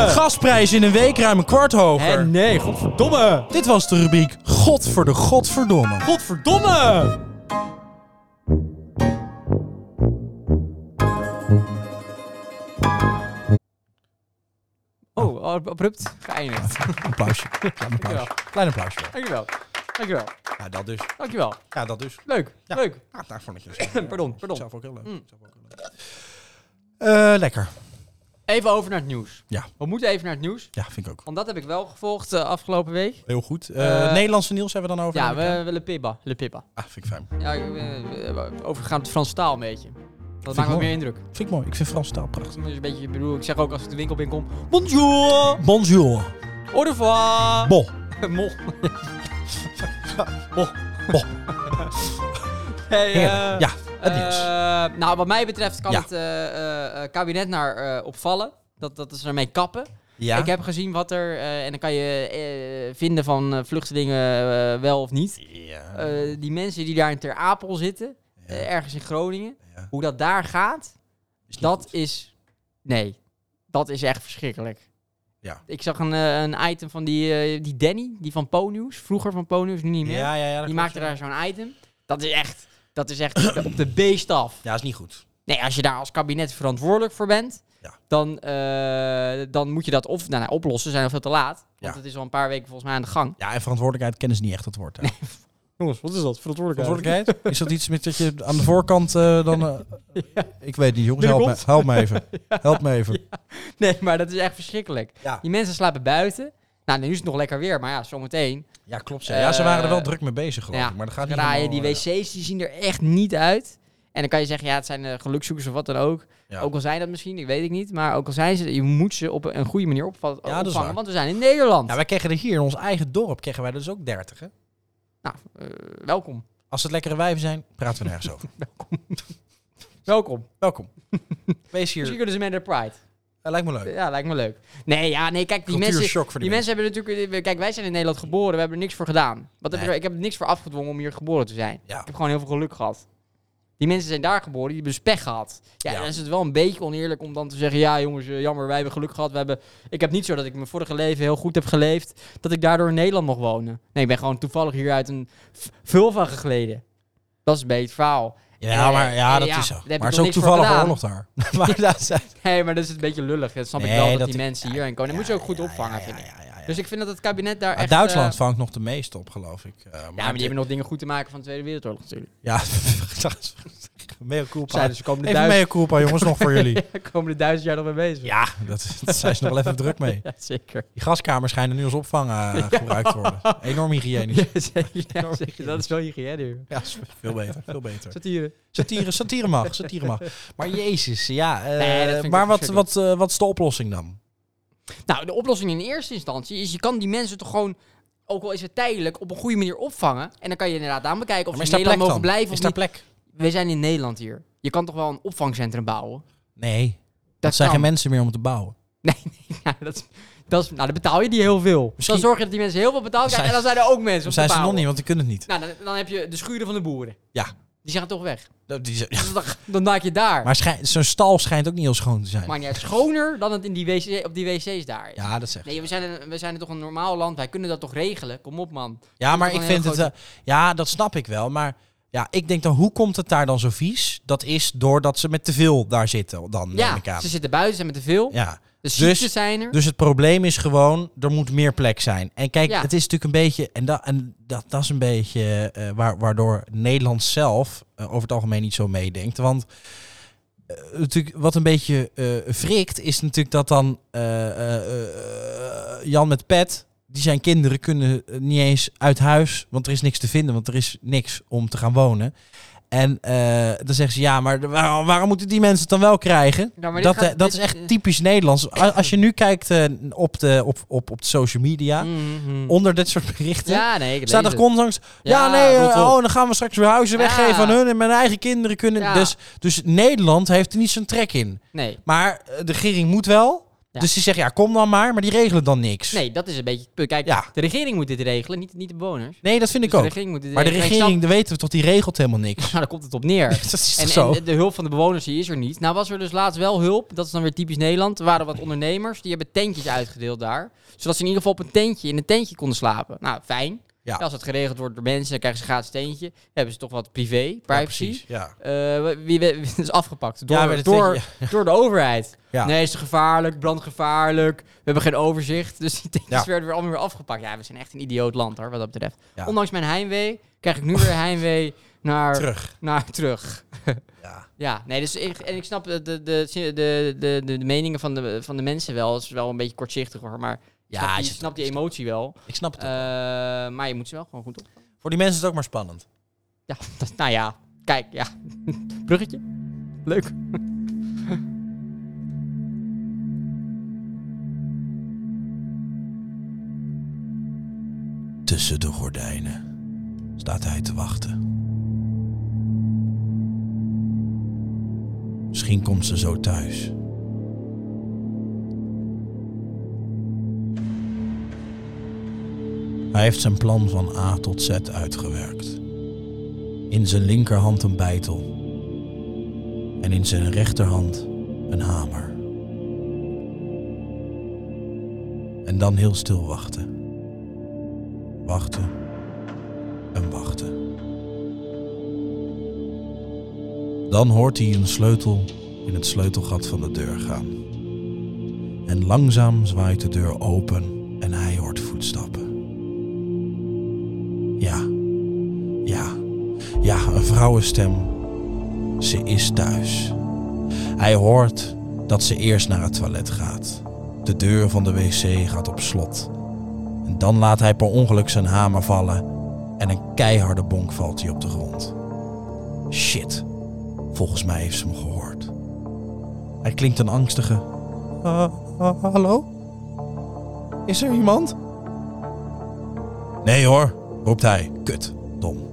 Speaker 1: Gasprijs in een week ruim een kwart hoger.
Speaker 2: Hè, nee, godverdomme.
Speaker 1: Dit was de rubriek God voor de Godverdomme.
Speaker 2: Godverdomme. Oh, ab- abrupt geëindigd.
Speaker 1: Applausje. Klein applausje.
Speaker 2: Dankjewel.
Speaker 1: Klein applausje.
Speaker 2: Dankjewel. Dankjewel.
Speaker 1: Ja, dat dus.
Speaker 2: Dankjewel.
Speaker 1: Ja, dat dus.
Speaker 2: Leuk.
Speaker 1: Ja.
Speaker 2: Leuk.
Speaker 1: Ja, daar vond ik het.
Speaker 2: Pardon, pardon.
Speaker 1: Zelf ook heel leuk. Zelf ook heel leuk. Eh, lekker.
Speaker 2: Even over naar het nieuws.
Speaker 1: Ja.
Speaker 2: We moeten even naar het nieuws.
Speaker 1: Ja, vind ik ook.
Speaker 2: Want dat heb ik wel gevolgd eh, afgelopen week.
Speaker 1: Heel goed.
Speaker 2: Eh,
Speaker 1: Eh, Nederlandse nieuws hebben we dan over?
Speaker 2: Ja, we, we le pibba. Le pibba.
Speaker 1: Ah, vind ik fijn.
Speaker 2: Ja, ik, eh, eh, overgegaan op het Frans taal een beetje. Dat
Speaker 1: ik
Speaker 2: maakt me
Speaker 1: mooi.
Speaker 2: meer indruk.
Speaker 1: Vind ik mooi. Ik vind Frans taal prachtig.
Speaker 2: Dus een beetje, ik bedoel, ik zeg ook als ik de winkel binnenkom. Bonjour!
Speaker 1: Bonjour.
Speaker 2: Au revoir!
Speaker 1: Bon.
Speaker 2: Mol.
Speaker 1: Bon.
Speaker 2: Hey, eh,
Speaker 1: Heerlijk. Ja, het
Speaker 2: eh,
Speaker 1: nieuws.
Speaker 2: nou, wat mij betreft kan
Speaker 1: Ja.
Speaker 2: het eh, eh, eh, kabinet naar eh, opvallen. Dat, dat is ermee kappen.
Speaker 1: Ja.
Speaker 2: Ik heb gezien wat er, eh, en dan kan je eh, vinden van eh, vluchtelingen eh, wel of niet.
Speaker 1: ja.
Speaker 2: Eh, die mensen die daar in Ter Apel zitten,
Speaker 1: Ja.
Speaker 2: eh, ergens in Groningen,
Speaker 1: Ja.
Speaker 2: hoe dat daar gaat,
Speaker 1: niet
Speaker 2: dat
Speaker 1: goed.
Speaker 2: is. Nee, dat is echt verschrikkelijk.
Speaker 1: Ja.
Speaker 2: Ik zag een, eh, een item van die, eh, die Danny, die van Ponius, vroeger van Ponius, nu niet meer.
Speaker 1: ja, ja, ja, dat
Speaker 2: die
Speaker 1: klopt,
Speaker 2: maakte
Speaker 1: ja.
Speaker 2: daar zo'n item. Dat is echt, dat is echt op de beest af.
Speaker 1: Ja, is niet goed.
Speaker 2: Nee, als je daar als kabinet verantwoordelijk voor bent,
Speaker 1: Ja.
Speaker 2: dan, eh, dan moet je dat of nou, nou, oplossen, zijn of veel te laat. Want
Speaker 1: Ja.
Speaker 2: het is al een paar weken volgens mij aan de gang.
Speaker 1: Ja, en verantwoordelijkheid kennen ze niet echt het woord. hè.
Speaker 2: Jongens, wat is dat? Verantwoordelijkheid.
Speaker 1: Verantwoordelijkheid? Is dat iets met dat je aan de voorkant eh, dan... eh, Ik weet niet, jongens. Help me,
Speaker 2: Binnenkomt.
Speaker 1: help me even. Help me even.
Speaker 2: Nee, maar dat is echt verschrikkelijk.
Speaker 1: Ja,
Speaker 2: Die mensen slapen buiten. Nou, nu is het nog lekker weer, maar ja, zometeen. Nou
Speaker 1: ja klopt. Ja. ja, ze waren er wel druk mee bezig, geloof
Speaker 2: Eh, ja,
Speaker 1: ik. Maar dat gaat niet
Speaker 2: Graaien, die
Speaker 1: helemaal, eh,
Speaker 2: wc's die zien er echt niet uit. En dan kan je zeggen, ja, het zijn eh, gelukszoekers of wat dan ook.
Speaker 1: eh, Ja.
Speaker 2: Ook al zijn dat misschien, ik weet het niet. Maar ook al zijn ze, je moet ze op een goede manier opvat-
Speaker 1: dat is waar.
Speaker 2: opvangen, want we zijn in Nederland.
Speaker 1: Ja, Nou, wij kregen er hier in ons eigen dorp kregen wij er dus ook 30. Hè?
Speaker 2: Nou, eh, welkom.
Speaker 1: Als het lekkere wijven zijn, praten we nergens over.
Speaker 2: Welkom.
Speaker 1: Welkom. Wees
Speaker 2: Misschien
Speaker 1: hier.
Speaker 2: kunnen ze mee naar de Pride.
Speaker 1: Dat lijkt me leuk.
Speaker 2: Ja, lijkt me leuk. Nee, ja, nee, kijk, die Eh, mensen, die,
Speaker 1: Cultuurshock voor die,
Speaker 2: mensen hebben natuurlijk... eh, Kijk, wij zijn in Nederland geboren, we hebben er niks voor gedaan. Wat heb
Speaker 1: Nee.
Speaker 2: ik, er- ik heb er niks voor afgedwongen om hier geboren te zijn.
Speaker 1: Ja.
Speaker 2: Ik heb gewoon heel veel geluk gehad. Die mensen zijn daar geboren, die hebben dus pech gehad. Ja,
Speaker 1: Ja.
Speaker 2: dan is het wel een beetje oneerlijk om dan te zeggen... Ja, jongens, eh, jammer, wij hebben geluk gehad. We hebben, ik heb niet zo dat ik mijn vorige leven heel goed heb geleefd... dat ik daardoor in Nederland mag wonen. Nee, ik ben gewoon toevallig hier uit een v- vulva gegleden. Dat is een beetje het verhaal.
Speaker 1: Ja,
Speaker 2: Eh,
Speaker 1: maar ja,
Speaker 2: eh,
Speaker 1: dat
Speaker 2: ja,
Speaker 1: is zo.
Speaker 2: daar heb ik
Speaker 1: Maar het is
Speaker 2: nog
Speaker 1: ook
Speaker 2: niks voor
Speaker 1: toevallig
Speaker 2: gedaan.
Speaker 1: oorlog daar. maar dat zijn...
Speaker 2: Nee, maar dat is een beetje lullig. Dat snap
Speaker 1: Nee,
Speaker 2: ik wel, dat,
Speaker 1: dat
Speaker 2: die
Speaker 1: ik-
Speaker 2: mensen hierheen komen. Dan moet je ook goed opvangen,
Speaker 1: ja,
Speaker 2: vind ik.
Speaker 1: ja, ja, ja.
Speaker 2: Dus ik vind dat het kabinet daar
Speaker 1: Maar
Speaker 2: echt...
Speaker 1: Duitsland
Speaker 2: eh,
Speaker 1: vangt nog de meeste op, geloof ik. Eh,
Speaker 2: ja, maar die hebben nog dingen goed te maken van de Tweede Wereldoorlog natuurlijk.
Speaker 1: Ja, mea culpa.
Speaker 2: Zeiden ze komen dus de
Speaker 1: Even
Speaker 2: duizend,
Speaker 1: mea culpa, jongens, nog voor jullie.
Speaker 2: komen de duizend jaar nog mee bezig.
Speaker 1: Ja, dat, dat zijn ze nog wel even druk mee.
Speaker 2: Ja, zeker.
Speaker 1: Die gaskamers schijnen nu als opvang eh, gebruikt te worden. Enorm hygiënisch.
Speaker 2: Ja, zeker, ja, zeker. Dat is wel hygiëne. joh.
Speaker 1: Ja, is veel beter, veel beter.
Speaker 2: Satire.
Speaker 1: Satire, satire mag, satire mag. Maar jezus, ja. eh,
Speaker 2: Nee, dat vind ik
Speaker 1: maar
Speaker 2: ook
Speaker 1: wat,
Speaker 2: verschrikkelijk.
Speaker 1: wat, eh, wat is de oplossing dan?
Speaker 2: Nou, de oplossing in eerste instantie is... je kan die mensen toch gewoon, ook al is het tijdelijk... op een goede manier opvangen. En dan kan je inderdaad aan bekijken of
Speaker 1: Maar
Speaker 2: ze
Speaker 1: is
Speaker 2: in
Speaker 1: daar plek
Speaker 2: Nederland mogen
Speaker 1: dan? Is
Speaker 2: blijven of
Speaker 1: daar
Speaker 2: niet.
Speaker 1: plek?
Speaker 2: We zijn in Nederland hier. Je kan toch wel een opvangcentrum bouwen?
Speaker 1: Nee, dat
Speaker 2: Dat
Speaker 1: zijn geen
Speaker 2: kan.
Speaker 1: mensen meer om te bouwen.
Speaker 2: Ja, dat is, dat is, nou, dan betaal je die heel veel.
Speaker 1: Misschien-
Speaker 2: Dan zorg je dat die mensen heel veel betaald
Speaker 1: Zijn-
Speaker 2: krijgen. En dan zijn er ook mensen
Speaker 1: Dan
Speaker 2: op
Speaker 1: zijn
Speaker 2: de
Speaker 1: ze nog
Speaker 2: paal.
Speaker 1: niet, want die kunnen het niet.
Speaker 2: Nou, dan, dan heb je de schuren van de boeren.
Speaker 1: Ja.
Speaker 2: Die zijn toch weg.
Speaker 1: Dat- die zijn-
Speaker 2: Dus dan, dan maak je daar.
Speaker 1: Maar schijn- zo'n stal schijnt ook niet heel schoon te zijn.
Speaker 2: Maar niet uit, schoner dan het in die wc, op die wc's daar is.
Speaker 1: Ja, dat zeg ik.
Speaker 2: Nee, we zijn, een- we zijn toch een normaal land. Wij kunnen dat toch regelen? Kom op, man.
Speaker 1: Ja, maar
Speaker 2: toch
Speaker 1: ik
Speaker 2: een
Speaker 1: vind
Speaker 2: hele
Speaker 1: het... eh, ja, dat snap ik wel. Maar ja, ik denk dan, hoe komt het daar dan zo vies? Dat is doordat ze met te veel daar zitten, dan neem ik
Speaker 2: Ja,
Speaker 1: aan.
Speaker 2: ze zitten buiten, ze zijn met te veel.
Speaker 1: Ja.
Speaker 2: De ziektes
Speaker 1: Dus,
Speaker 2: zijn er.
Speaker 1: dus het probleem is gewoon, er moet meer plek zijn. En kijk,
Speaker 2: Ja.
Speaker 1: het is natuurlijk een beetje... En, da, en dat, dat is een beetje eh, waar, waardoor Nederland zelf eh, over het algemeen niet zo meedenkt. Want eh, natuurlijk, wat een beetje eh wrikt, is natuurlijk dat dan eh, eh, eh, Jan met pet... Die zijn kinderen kunnen eh, niet eens uit huis, want er is niks te vinden, want er is niks om te gaan wonen. En eh, dan zeggen ze, ja, maar waarom, waarom moeten die mensen het dan wel krijgen?
Speaker 2: Nou, maar dit
Speaker 1: dat
Speaker 2: gaat-
Speaker 1: eh, dat
Speaker 2: dit-
Speaker 1: is echt typisch Nederlands. A- Als je nu kijkt eh, op, de, op, op, op de social media,
Speaker 2: Mhm.
Speaker 1: onder dit soort berichten,
Speaker 2: Ja, nee, ik
Speaker 1: staat er
Speaker 2: lees het.
Speaker 1: constant... Ja,
Speaker 2: Ja,
Speaker 1: nee, eh,
Speaker 2: rot op.
Speaker 1: oh, dan gaan we straks weer huizen
Speaker 2: Ja.
Speaker 1: weggeven aan hun en mijn eigen kinderen kunnen...
Speaker 2: Ja.
Speaker 1: Dus, dus Nederland heeft er niet zo'n trek in.
Speaker 2: Nee.
Speaker 1: Maar eh, de regering moet wel.
Speaker 2: Ja.
Speaker 1: Dus die zeggen, ja, kom dan maar, maar die regelen dan niks.
Speaker 2: nee, dat is een beetje het punt. Kijk,
Speaker 1: Ja.
Speaker 2: de regering moet dit regelen, niet, niet de bewoners.
Speaker 1: Nee, dat vind
Speaker 2: Dus
Speaker 1: ik
Speaker 2: de
Speaker 1: ook.
Speaker 2: regering moet dit
Speaker 1: Maar de
Speaker 2: regelen. Ik snap-
Speaker 1: regering, daar weten we toch, die regelt helemaal niks.
Speaker 2: Nou, daar komt het op neer.
Speaker 1: dat is toch
Speaker 2: En,
Speaker 1: zo?
Speaker 2: en de hulp van de bewoners die is er niet. Nou was er dus laatst wel hulp. Dat is dan weer typisch Nederland. Er waren wat ondernemers. Die hebben tentjes uitgedeeld daar. Zodat ze in ieder geval op een tentje, in een tentje konden slapen. Nou, fijn.
Speaker 1: Ja.
Speaker 2: Als het geregeld wordt door mensen, dan krijgen ze een gratis tentje. Dan hebben ze toch wat privé,
Speaker 1: Ja,
Speaker 2: privacy.
Speaker 1: precies, ja.
Speaker 2: Eh, wie- wie, wie wie is afgepakt door,
Speaker 1: Ja, maar dat
Speaker 2: door,
Speaker 1: tentje-
Speaker 2: door de overheid.
Speaker 1: Ja.
Speaker 2: Nee, is te gevaarlijk, brandgevaarlijk. We hebben geen overzicht. Dus die tentjes
Speaker 1: Ja.
Speaker 2: werden weer allemaal weer afgepakt. Ja, we zijn echt een idioot land hoor, wat dat betreft.
Speaker 1: Ja.
Speaker 2: Ondanks mijn heimwee krijg ik nu weer heimwee naar
Speaker 1: Terug.
Speaker 2: Naar terug.
Speaker 1: Ja.
Speaker 2: Ja, nee, dus ik, en ik snap de, de, de, de, de, de, de meningen van de, van de mensen wel. Het is wel een beetje kortzichtig hoor, maar
Speaker 1: Ja,
Speaker 2: ja, snap, je,
Speaker 1: is het-
Speaker 2: snapt die emotie wel.
Speaker 1: Ik snap het.
Speaker 2: Eh, maar je moet ze wel gewoon goed op.
Speaker 1: Voor die mensen is het ook maar spannend.
Speaker 2: Ja, dat, nou ja, kijk, ja. Bruggetje. Leuk.
Speaker 1: Tussen de gordijnen staat hij te wachten. Misschien komt ze zo thuis. Hij heeft zijn plan van A tot Z uitgewerkt. In zijn linkerhand een beitel. En in zijn rechterhand een hamer. En dan heel stil wachten. Wachten en wachten. Dan hoort hij een sleutel in het sleutelgat van de deur gaan. En langzaam zwaait de deur open en hij hoort voetstappen. Ja, ja, ja, een vrouwenstem. Ze is thuis. Hij hoort dat ze eerst naar het toilet gaat. De deur van de wc gaat op slot. En dan laat hij per ongeluk zijn hamer vallen en een keiharde bonk valt hij op de grond. Shit, volgens mij heeft ze hem gehoord. Hij klinkt een angstige. "Ha- ha- hallo? Is er iemand? Nee hoor, roept hij. Kut, dom.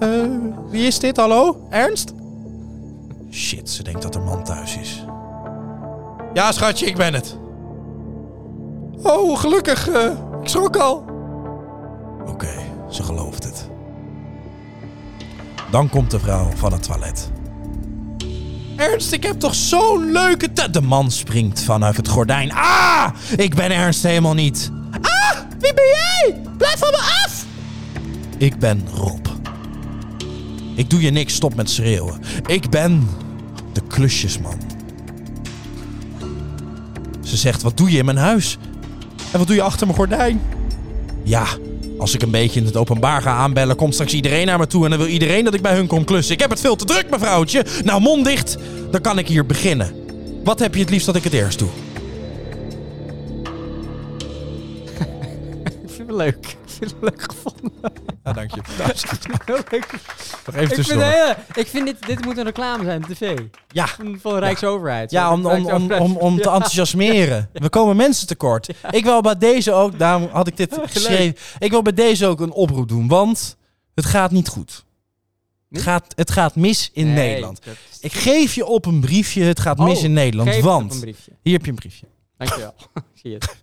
Speaker 1: "Eh, wie is dit, hallo? Ernst? Shit, ze denkt dat haar man thuis is. Ja, schatje, ik ben het. Oh, gelukkig. eh, ik schrok al. Oké, ze gelooft het. Dan komt de vrouw van het toilet. Ernst, ik heb toch zo'n leuke tuin. De man springt vanuit het gordijn. Ah, ik ben Ernst helemaal niet. Ah, wie ben jij? Blijf van me af. Ik ben Rob. Ik doe je niks, stop met schreeuwen. Ik ben de klusjesman. Ze zegt, wat doe je in mijn huis? En wat doe je achter mijn gordijn? Ja, als ik een beetje in het openbaar ga aanbellen, komt straks iedereen naar me toe en dan wil iedereen dat ik bij hun kom klussen. Ik heb het veel te druk, mevrouwtje. Nou, mond dicht, dan kan ik hier beginnen. Wat heb je het liefst dat ik het eerst doe?
Speaker 2: Ik vind het leuk. Ik vind het leuk gevonden.
Speaker 1: Ja, dank je.
Speaker 2: Heel
Speaker 1: Nog
Speaker 2: leuk.
Speaker 1: even
Speaker 2: Ik vind,
Speaker 1: tussendoor.
Speaker 2: het heel- ik vind dit, dit moet een reclame zijn op tv.
Speaker 1: Ja.
Speaker 2: Van, van de Rijksoverheid.
Speaker 1: Ja, om, om, om, om, om te enthousiasmeren. We komen mensen tekort. Ik wil bij deze ook, daarom had ik dit geschreven. Ik wil bij deze ook een oproep doen, want het gaat niet goed. Het
Speaker 2: Niet?
Speaker 1: gaat, het gaat mis in Nederland. Ik geef je op een briefje, het gaat mis
Speaker 2: Oh,
Speaker 1: in Nederland.
Speaker 2: Op een
Speaker 1: Want,
Speaker 2: briefje.
Speaker 1: hier heb je een briefje.
Speaker 2: Dankjewel. Zie je het.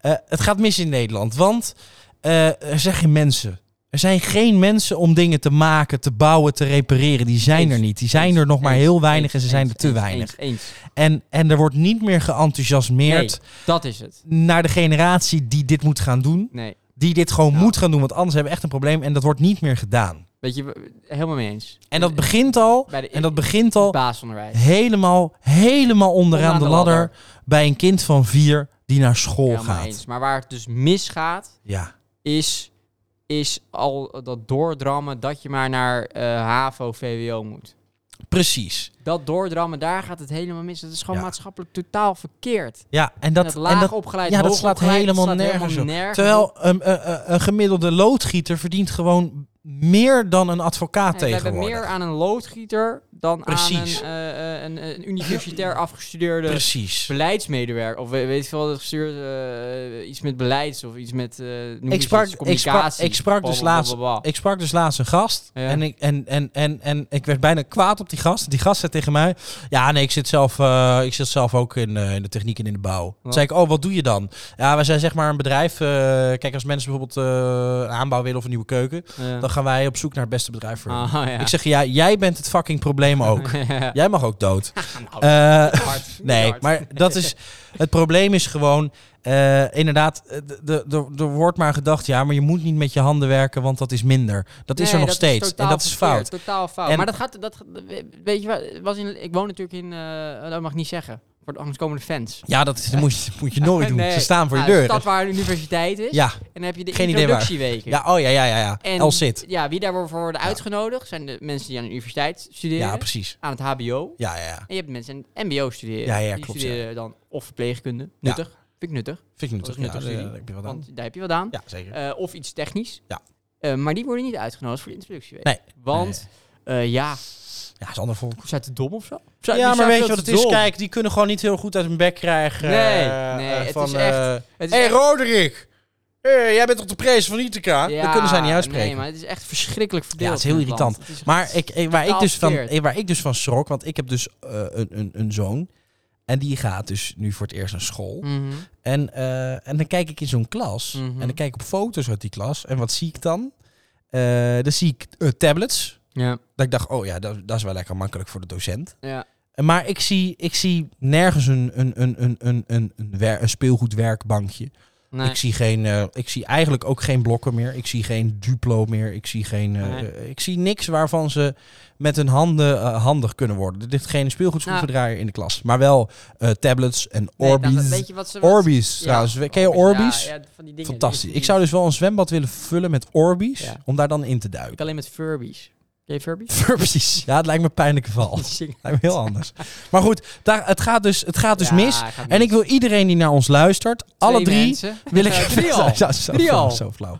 Speaker 1: Eh, het gaat mis in Nederland, want eh, er zijn geen mensen. Er zijn geen mensen om dingen te maken, te bouwen, te repareren. Die zijn
Speaker 2: Eens,
Speaker 1: er niet. Die zijn
Speaker 2: eens,
Speaker 1: er nog maar
Speaker 2: eens,
Speaker 1: heel weinig en ze
Speaker 2: eens,
Speaker 1: zijn
Speaker 2: eens,
Speaker 1: er te
Speaker 2: eens,
Speaker 1: weinig.
Speaker 2: Eens,
Speaker 1: En, en er wordt niet meer geenthousiasmeerd
Speaker 2: eens. Nee, dat is het.
Speaker 1: naar de generatie die dit moet gaan doen.
Speaker 2: Nee.
Speaker 1: Die dit gewoon
Speaker 2: Ja.
Speaker 1: moet gaan doen, want anders hebben we echt een probleem. En dat wordt niet meer gedaan.
Speaker 2: Weet je, we- helemaal mee eens.
Speaker 1: En dat begint al,
Speaker 2: Bij de-
Speaker 1: en dat begint al
Speaker 2: Basisonderwijs.
Speaker 1: helemaal, helemaal onderaan
Speaker 2: Onderaan
Speaker 1: de
Speaker 2: de
Speaker 1: ladder
Speaker 2: ladder.
Speaker 1: bij een kind van vier die naar school
Speaker 2: Helemaal
Speaker 1: gaat.
Speaker 2: eens. Maar waar het dus misgaat,
Speaker 1: Ja.
Speaker 2: is, is al dat doordrammen dat je maar naar eh, HAVO, VWO moet.
Speaker 1: Precies.
Speaker 2: Dat doordrammen, daar gaat het helemaal mis. Dat is gewoon
Speaker 1: Ja.
Speaker 2: maatschappelijk totaal verkeerd.
Speaker 1: Ja, en
Speaker 2: Dat,
Speaker 1: dat,
Speaker 2: en dat
Speaker 1: en
Speaker 2: laag
Speaker 1: dat-
Speaker 2: opgeleid,
Speaker 1: ja, dat
Speaker 2: hoog
Speaker 1: slaat
Speaker 2: opgeleid,
Speaker 1: helemaal
Speaker 2: dat slaat
Speaker 1: nergens op.
Speaker 2: nergens op.
Speaker 1: Terwijl een, een- een- een gemiddelde loodgieter verdient gewoon meer dan een advocaat
Speaker 2: Nee, we hebben
Speaker 1: tegenwoordig.
Speaker 2: meer aan een loodgieter dan
Speaker 1: Precies.
Speaker 2: aan een, eh, eh, een, een universitair afgestudeerde
Speaker 1: Precies.
Speaker 2: beleidsmedewerker. Of we- weet je wel, dat gestuurd, eh, iets met beleids of iets met eh, noem eens
Speaker 1: Ik sprak,
Speaker 2: iets,
Speaker 1: ik, sprak,
Speaker 2: communicatie.
Speaker 1: ik, sprak dus laatst,
Speaker 2: Blablabla.
Speaker 1: ik sprak dus laatst een gast.
Speaker 2: Ah. Ja.
Speaker 1: En, ik, en, en, en, en ik werd bijna kwaad op die gast. Die gast zei tegen mij: Ja, nee, ik zit zelf, eh, ik zit zelf ook in, eh, in de techniek en in de bouw. Toen
Speaker 2: Wat?
Speaker 1: zei ik: Oh, wat doe je dan? Ja, wij zijn zeg maar een bedrijf. eh, kijk, als mensen bijvoorbeeld eh, een aanbouw willen of een nieuwe keuken,
Speaker 2: Ja.
Speaker 1: dan gaan wij op zoek naar het beste bedrijf voor. hun.
Speaker 2: Ah, ja.
Speaker 1: Ik zeg: Ja, jij bent het fucking probleem ook.
Speaker 2: Ja.
Speaker 1: Jij mag ook dood.
Speaker 2: Nou,
Speaker 1: Eh,
Speaker 2: hard.
Speaker 1: nee,
Speaker 2: Hard.
Speaker 1: maar dat is. Het probleem is gewoon. eh, inderdaad, eh, de- de- de- er wordt maar gedacht. Ja, maar je moet niet met je handen werken, want dat is minder. Dat is
Speaker 2: Nee,
Speaker 1: er nog steeds.
Speaker 2: totaal
Speaker 1: En dat is
Speaker 2: verkeerd,
Speaker 1: fout.
Speaker 2: Totaal fout.
Speaker 1: En-
Speaker 2: maar dat gaat, dat, weet je wat, was in, ik woon natuurlijk in, eh, dat mag ik niet zeggen, voor de anders komen de fans.
Speaker 1: Ja, dat, is- dat moet, je, moet je nooit doen.
Speaker 2: Nee.
Speaker 1: Ze staan voor je
Speaker 2: Nou,
Speaker 1: deur.
Speaker 2: Een stad waar een universiteit is.
Speaker 1: Ja,
Speaker 2: En dan heb je de
Speaker 1: Geen idee waar.
Speaker 2: introductieweken.
Speaker 1: ja, oh ja, ja, ja. ja.
Speaker 2: En
Speaker 1: El zit.
Speaker 2: Ja, wie daarvoor worden uitgenodigd zijn de mensen die aan de universiteit studeren,
Speaker 1: Ja, precies.
Speaker 2: aan het HBO.
Speaker 1: Ja, ja, ja.
Speaker 2: En je hebt mensen aan het MBO studeren.
Speaker 1: Ja, ja,
Speaker 2: die
Speaker 1: klopt,
Speaker 2: studeren dan of verpleegkunde. Nuttig. Vind ik nuttig.
Speaker 1: Vind ik nuttig.
Speaker 2: Dat is nuttig
Speaker 1: Ja,
Speaker 2: studie.
Speaker 1: daar heb je wat aan.
Speaker 2: Want daar heb je wat aan.
Speaker 1: Ja, zeker.
Speaker 2: Eh, of iets technisch.
Speaker 1: Ja.
Speaker 2: Eh, maar die worden niet uitgenodigd voor de introductieweek.
Speaker 1: Nee.
Speaker 2: Want, eh, ja,
Speaker 1: Ja, is ander volk.
Speaker 2: zijn te dom of zo? Zijn-
Speaker 1: Ja, maar
Speaker 2: die zijn
Speaker 1: weet je
Speaker 2: veel
Speaker 1: wat het
Speaker 2: te
Speaker 1: is?
Speaker 2: dom.
Speaker 1: Kijk, die kunnen gewoon niet heel goed uit hun bek krijgen.
Speaker 2: Nee,
Speaker 1: eh,
Speaker 2: nee,
Speaker 1: eh,
Speaker 2: het
Speaker 1: van,
Speaker 2: is echt-
Speaker 1: eh,
Speaker 2: Het is
Speaker 1: Hé, hey,
Speaker 2: echt-
Speaker 1: Roderick! Hey, jij bent toch de prees van Ithaca?
Speaker 2: Ja,
Speaker 1: dat kunnen zij niet uitspreken.
Speaker 2: Nee, maar het is echt verschrikkelijk verdeeld.
Speaker 1: Ja, het is heel
Speaker 2: in land.
Speaker 1: irritant.
Speaker 2: Het is echt
Speaker 1: Maar ik, ik- waar, ik
Speaker 2: totaal
Speaker 1: dus van,
Speaker 2: verkeerd.
Speaker 1: waar ik dus van schrok, want ik heb dus eh, een, een, een zoon. En die gaat dus nu voor het eerst naar school. En, eh, en dan kijk ik in zo'n klas.
Speaker 2: Mm. Mhm.
Speaker 1: En dan kijk ik op foto's uit die klas. En wat zie ik dan? Eh, dan zie ik eh, tablets.
Speaker 2: Ja.
Speaker 1: Dat ik dacht, oh ja, dat, dat is wel lekker makkelijk voor de docent.
Speaker 2: Ja.
Speaker 1: Maar ik zie, ik zie nergens een, een, een, een, een, een, een, wer- een speelgoedwerkbankje.
Speaker 2: Nee.
Speaker 1: Ik, zie geen, eh, ik zie eigenlijk ook geen blokken meer. Ik zie geen duplo meer. Ik zie, geen, eh,
Speaker 2: Nee.
Speaker 1: eh, ik zie niks waarvan ze met hun handen eh, handig kunnen worden. Er ligt geen speelgoedschroevendraaier in de klas. Maar wel eh, tablets en
Speaker 2: Nou. Nee,
Speaker 1: Orbeez.
Speaker 2: nou, weet je wat ze... wat-
Speaker 1: Orbeez
Speaker 2: Ja,
Speaker 1: trouwens. Ken je
Speaker 2: Orbeez,
Speaker 1: Orbeez?
Speaker 2: Ja, ja, van die dingen.
Speaker 1: Fantastisch.
Speaker 2: Die-
Speaker 1: Ik zou dus wel een zwembad willen vullen met Orbeez.
Speaker 2: Ja.
Speaker 1: Om daar dan in te
Speaker 2: Ik
Speaker 1: duiken.
Speaker 2: alleen met Furbies. Jij Furbies?
Speaker 1: Precies. Ja, het lijkt me een pijnlijke val.
Speaker 2: Zing-
Speaker 1: Lijkt me heel anders. Maar goed, daar, het gaat dus, het gaat dus
Speaker 2: Ja,
Speaker 1: mis.
Speaker 2: gaat mis.
Speaker 1: En ik wil iedereen die naar ons luistert, alle
Speaker 2: Twee
Speaker 1: drie,
Speaker 2: mensen.
Speaker 1: wil ik...
Speaker 2: Eh, drie al.
Speaker 1: Ja, zo,
Speaker 2: Drie
Speaker 1: flauw,
Speaker 2: al.
Speaker 1: zo flauw.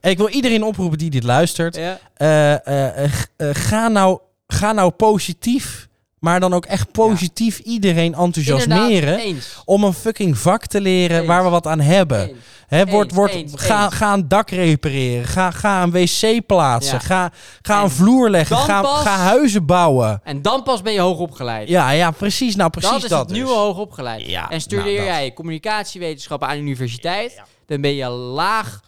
Speaker 1: En ik wil iedereen oproepen die dit luistert.
Speaker 2: Ja.
Speaker 1: eh, eh, eh, g- eh, ga, nou, ga nou positief, maar dan ook echt positief iedereen enthousiasmeren.
Speaker 2: Inderdaad, Eens.
Speaker 1: Om een fucking vak te leren
Speaker 2: Eens.
Speaker 1: waar we wat aan hebben.
Speaker 2: Eens.
Speaker 1: Hè, word,
Speaker 2: Eens,
Speaker 1: word,
Speaker 2: eens,
Speaker 1: ga,
Speaker 2: eens.
Speaker 1: ga een dak repareren. Ga, ga een wc plaatsen.
Speaker 2: Ja.
Speaker 1: Ga, ga een
Speaker 2: Eens.
Speaker 1: vloer leggen.
Speaker 2: Dan
Speaker 1: Ga,
Speaker 2: pas-
Speaker 1: ga huizen bouwen.
Speaker 2: En dan pas ben je hoog opgeleid.
Speaker 1: Ja, ja, precies. Nou, precies
Speaker 2: dat
Speaker 1: dat.
Speaker 2: is het
Speaker 1: dus.
Speaker 2: nieuwe hoog opgeleid.
Speaker 1: Ja,
Speaker 2: en studeer
Speaker 1: nou, dat.
Speaker 2: jij communicatiewetenschappen aan de universiteit, dan ben je laag,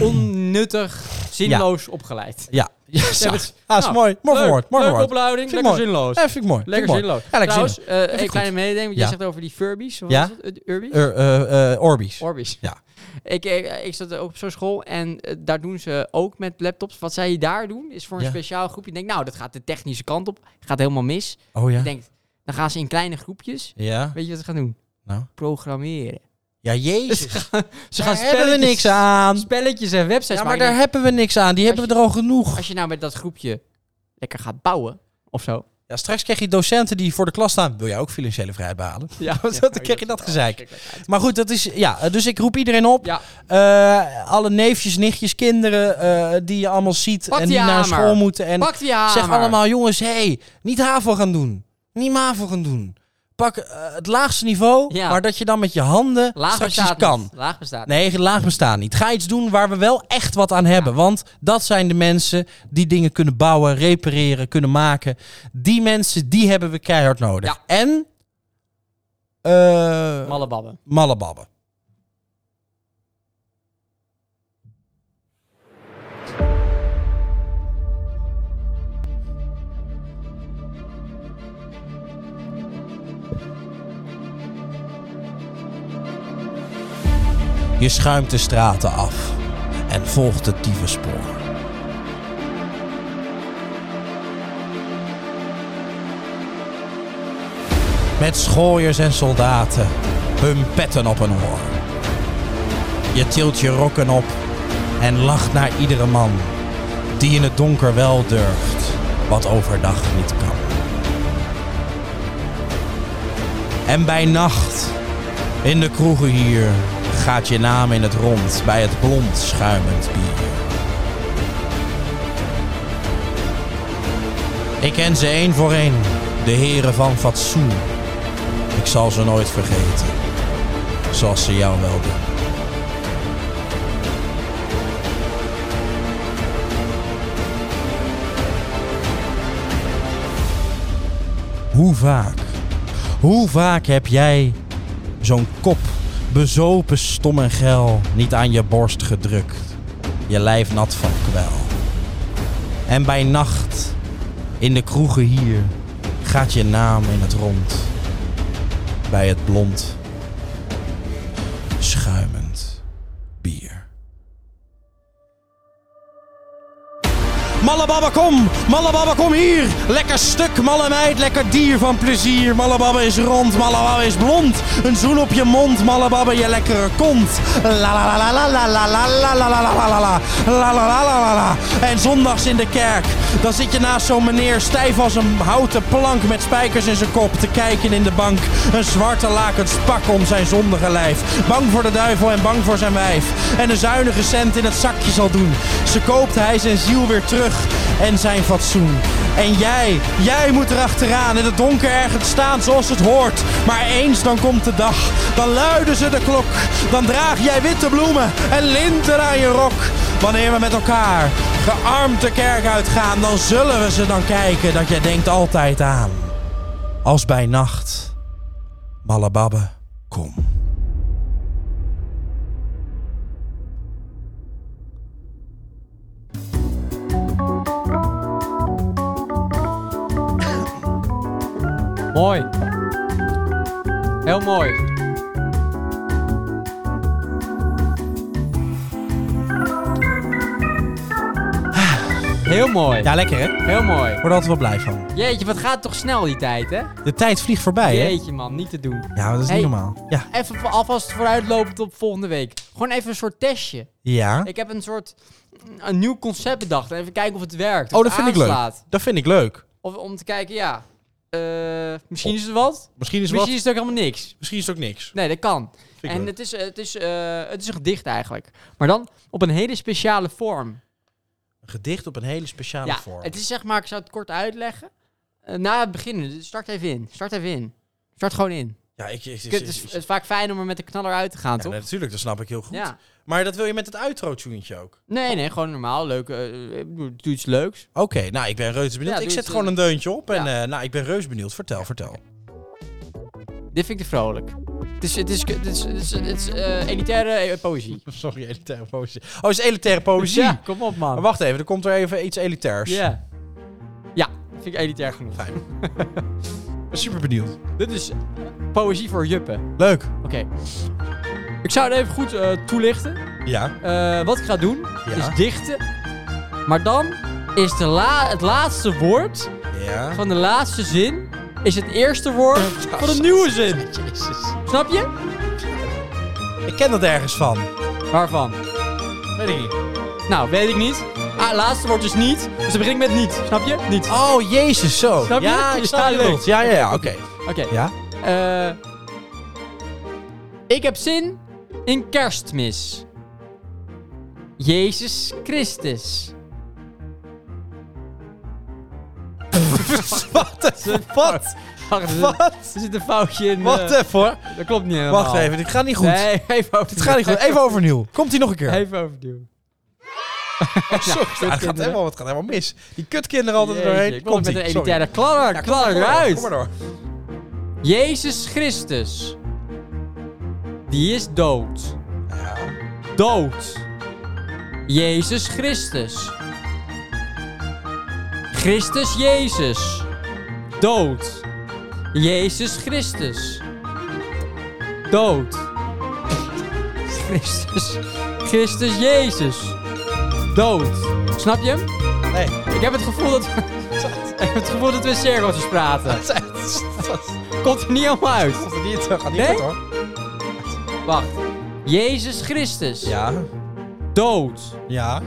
Speaker 2: onnuttig, zinloos opgeleid.
Speaker 1: Ja. Ja, zo.
Speaker 2: dat is-
Speaker 1: Ah, is
Speaker 2: nou,
Speaker 1: mooi. Mooi
Speaker 2: Leuk,
Speaker 1: verwoord. Mooi
Speaker 2: leuke
Speaker 1: verwoord.
Speaker 2: opleiding,
Speaker 1: Vind ik
Speaker 2: lekker
Speaker 1: mooi.
Speaker 2: zinloos.
Speaker 1: Ja, vind ik mooi.
Speaker 2: Lekker
Speaker 1: vind ik mooi.
Speaker 2: zinloos.
Speaker 1: Ja, lekker
Speaker 2: Trouwens, eh,
Speaker 1: ik
Speaker 2: een kleine mededeling, want
Speaker 1: Ja.
Speaker 2: jij zegt over die Furbies. Wat
Speaker 1: Ja.
Speaker 2: was het? Eh, Urbies?
Speaker 1: zinloos. Eh, eh, eh, Orbeez.
Speaker 2: Orbies.
Speaker 1: Ja.
Speaker 2: Ik, eh, ik, ik zat ook op zo'n school en eh, daar doen ze ook met laptops. Wat zij daar doen is voor een
Speaker 1: Ja.
Speaker 2: speciaal groepje. Ik denk, nou, dat gaat de technische kant op. Gaat helemaal mis.
Speaker 1: Oh ja.
Speaker 2: Ik denk, dan gaan ze in kleine groepjes.
Speaker 1: Ja.
Speaker 2: Weet je wat ze gaan doen?
Speaker 1: Nou.
Speaker 2: Programmeren.
Speaker 1: Ja, jezus. daar
Speaker 2: Ze gaan
Speaker 1: hebben we
Speaker 2: spelletjes-
Speaker 1: niks aan.
Speaker 2: Spelletjes en websites.
Speaker 1: Ja, maar
Speaker 2: maken.
Speaker 1: daar hebben we niks aan. Die hebben
Speaker 2: Als
Speaker 1: we er al genoeg.
Speaker 2: Als je nou met dat groepje lekker gaat bouwen of zo.
Speaker 1: Ja, straks krijg je docenten die voor de klas staan. Wil jij ook financiële vrijheid behalen?
Speaker 2: Ja,
Speaker 1: dan krijg je dat gezeik. Maar goed, dat is, ja, dus ik roep iedereen op.
Speaker 2: Ja.
Speaker 1: Eh, alle neefjes, nichtjes, kinderen eh, die je allemaal ziet
Speaker 2: Pak
Speaker 1: en
Speaker 2: die
Speaker 1: die naar
Speaker 2: hamer.
Speaker 1: school moeten. En
Speaker 2: Pak die hamer.
Speaker 1: Zeg allemaal, jongens, hé, hey, niet HAVO gaan doen. Niet MAVO gaan doen. Pak eh, het laagste niveau,
Speaker 2: Ja.
Speaker 1: maar dat je dan met je handen
Speaker 2: Laag
Speaker 1: straks
Speaker 2: bestaat
Speaker 1: iets kan.
Speaker 2: niet. Laag bestaat
Speaker 1: Nee, laag bestaan niet. Ga iets doen waar we wel echt wat aan hebben. Want dat zijn de mensen die dingen kunnen bouwen, repareren, kunnen maken. Die mensen, die hebben we keihard nodig.
Speaker 2: Ja.
Speaker 1: En... eh
Speaker 2: Malle babben.
Speaker 1: mallebabben. Je schuimt de straten af en volgt het dievenspoor. Met schooiers en soldaten, hun petten op hun oor. Je tilt je rokken op en lacht naar iedere man die in het donker wel durft wat overdag niet kan. En bij nacht, in de kroegen hier, gaat je naam in het rond bij het blond schuimend bier. Ik ken ze één voor één, de heren van fatsoen. Ik zal ze nooit vergeten, zoals ze jou wel doen. Hoe vaak, hoe vaak heb jij zo'n kop bezopen, stom en geil niet aan je borst gedrukt? Je lijf nat van kwel. En bij nacht in de kroegen hier gaat je naam in het rond. Bij het blond, schuimend bier. Mallebabba kom, Mallebabba kom hier. Lekker stuk, malle meid, lekker dier van plezier. Mallebabba is rond, Mallebabba is blond. Een zoen op je mond, Mallebabba je lekkere kont. La la la la la la la la la la la la la la la la la la la la. En zondags in de kerk, dan zit je naast zo'n meneer stijf als een houten plank met spijkers in zijn kop te kijken in de bank. Een zwarte lakens pak om zijn zondige lijf. Bang voor de duivel en bang voor zijn wijf. En een zuinige cent in het zakje zal doen. Ze koopt hij zijn ziel weer terug en zijn fatsoen. En jij, jij moet erachteraan in het donker ergens staan zoals het hoort. Maar eens dan komt de dag, dan luiden ze de klok. Dan draag jij witte bloemen en linten aan je rok. Wanneer we met elkaar gearmd de kerk uitgaan, dan zullen we ze dan kijken dat jij denkt altijd aan. Als bij nacht Malababbe, kom.
Speaker 2: Mooi. Heel mooi. Heel mooi.
Speaker 1: Ja, lekker hè? Ik
Speaker 2: Heel mooi.
Speaker 1: word er altijd wel blij van.
Speaker 2: Jeetje, wat gaat toch snel die tijd, hè?
Speaker 1: De tijd vliegt voorbij hè?
Speaker 2: Jeetje man, niet te doen.
Speaker 1: Ja, dat is
Speaker 2: Hey.
Speaker 1: niet normaal. Ja.
Speaker 2: Even voor- alvast vooruitlopend op volgende week. Gewoon even een soort testje.
Speaker 1: Ja.
Speaker 2: Ik heb een soort een nieuw concept bedacht. Even kijken of het werkt.
Speaker 1: Oh,
Speaker 2: of
Speaker 1: dat
Speaker 2: het
Speaker 1: vind ik leuk.
Speaker 2: aanslaat.
Speaker 1: Dat vind ik leuk.
Speaker 2: Of om te kijken, ja. eh, misschien is het wat.
Speaker 1: Misschien is,
Speaker 2: Misschien
Speaker 1: wat,
Speaker 2: is het ook helemaal niks.
Speaker 1: misschien is het ook niks.
Speaker 2: Nee, dat kan.
Speaker 1: ik
Speaker 2: en
Speaker 1: leuk.
Speaker 2: het is, het, is, eh, het is een gedicht eigenlijk. Maar dan op een hele speciale vorm.
Speaker 1: Een gedicht op een hele speciale
Speaker 2: ja,
Speaker 1: vorm.
Speaker 2: het is zeg maar, ik zou het kort uitleggen. Eh, na het begin, dus start even in. Start even in. Start gewoon in.
Speaker 1: ja, ik, ik, ik-
Speaker 2: Het is, het is vaak fijn om er met de knaller uit te gaan,
Speaker 1: Ja,
Speaker 2: toch?
Speaker 1: nee, natuurlijk, dat snap ik heel goed.
Speaker 2: Ja.
Speaker 1: Maar dat wil je met het outro-tunetje ook.
Speaker 2: Nee, nee, gewoon normaal. Leuk. eh, eh, doe iets leuks.
Speaker 1: Oké, nou, ik ben reuze benieuwd.
Speaker 2: Ja,
Speaker 1: ik
Speaker 2: doe
Speaker 1: zet
Speaker 2: het,
Speaker 1: gewoon
Speaker 2: eh,
Speaker 1: een deuntje op en
Speaker 2: ja.
Speaker 1: eh, nou, ik ben reuze benieuwd. Vertel, vertel.
Speaker 2: Dit vind ik te vrolijk. Het is, het is, het is, het is, het is eh, elitaire eh, poëzie.
Speaker 1: Sorry, elitaire poëzie. Oh, is elitaire poëzie?
Speaker 2: Ja, kom op man.
Speaker 1: Maar wacht even, er komt er even iets elitairs.
Speaker 2: Ja. Ja, vind ik elitair genoeg.
Speaker 1: Fijn. Ik ben super benieuwd.
Speaker 2: Dit is poëzie voor juppen.
Speaker 1: Leuk.
Speaker 2: Oké. Ik zou het even goed eh, toelichten.
Speaker 1: Ja.
Speaker 2: Eh, wat ik ga doen
Speaker 1: Ja.
Speaker 2: is dichten. Maar dan is de la het laatste woord
Speaker 1: Ja.
Speaker 2: van de laatste zin... is het eerste woord van een nieuwe zin.
Speaker 1: Jezus.
Speaker 2: Snap je?
Speaker 1: Ik ken dat ergens van.
Speaker 2: Waarvan?
Speaker 1: Weet ik niet.
Speaker 2: Nou, weet ik niet. Ah, laatste woord is niet. Dus dan begin ik met niet. Snap je? Niet.
Speaker 1: Oh, jezus, zo.
Speaker 2: Snap je?
Speaker 1: Ja, ik
Speaker 2: Ja,
Speaker 1: snap je
Speaker 2: leuk.
Speaker 1: bedoelt. Ja, ja, ja, oké.
Speaker 2: Oké.
Speaker 1: Ja?
Speaker 2: Eh, ik heb zin in kerstmis. Jezus Christus.
Speaker 1: Wat even, wat?
Speaker 2: Wacht, er zit-
Speaker 1: Wat?
Speaker 2: er zit een foutje in.
Speaker 1: Wacht
Speaker 2: eh,
Speaker 1: even hoor.
Speaker 2: dat klopt niet helemaal.
Speaker 1: Wacht even, dit gaat niet goed.
Speaker 2: Nee, even overnieuw.
Speaker 1: Dit gaat niet goed. Even overnieuw. Komt hij nog een keer?
Speaker 2: Even overnieuw.
Speaker 1: Oh, sorry. Ja, het, gaat
Speaker 2: kutkinderen.
Speaker 1: helemaal, het gaat helemaal mis. Die kutkinderen altijd er
Speaker 2: Jeetje,
Speaker 1: doorheen.
Speaker 2: ik kom
Speaker 1: Komt
Speaker 2: met
Speaker 1: hij.
Speaker 2: een elitaire kladder,
Speaker 1: Ja, kom maar
Speaker 2: kladder
Speaker 1: door,
Speaker 2: eruit.
Speaker 1: Kom maar door.
Speaker 2: Jezus Christus. Die is dood. Dood. Jezus Christus. Christus Jezus. Dood. Jezus Christus. Dood. Christus. Christus Jezus. Dood. Snap je? hem?
Speaker 1: Nee.
Speaker 2: Ik heb het gevoel dat, ik heb het gevoel dat we in cirkeltjes praten.
Speaker 1: Dat is- dat is-
Speaker 2: Komt er niet helemaal uit.
Speaker 1: dat is niet- dat gaat niet
Speaker 2: Nee?
Speaker 1: goed hoor.
Speaker 2: Wacht. Jezus Christus.
Speaker 1: Ja.
Speaker 2: Dood.
Speaker 1: Ja.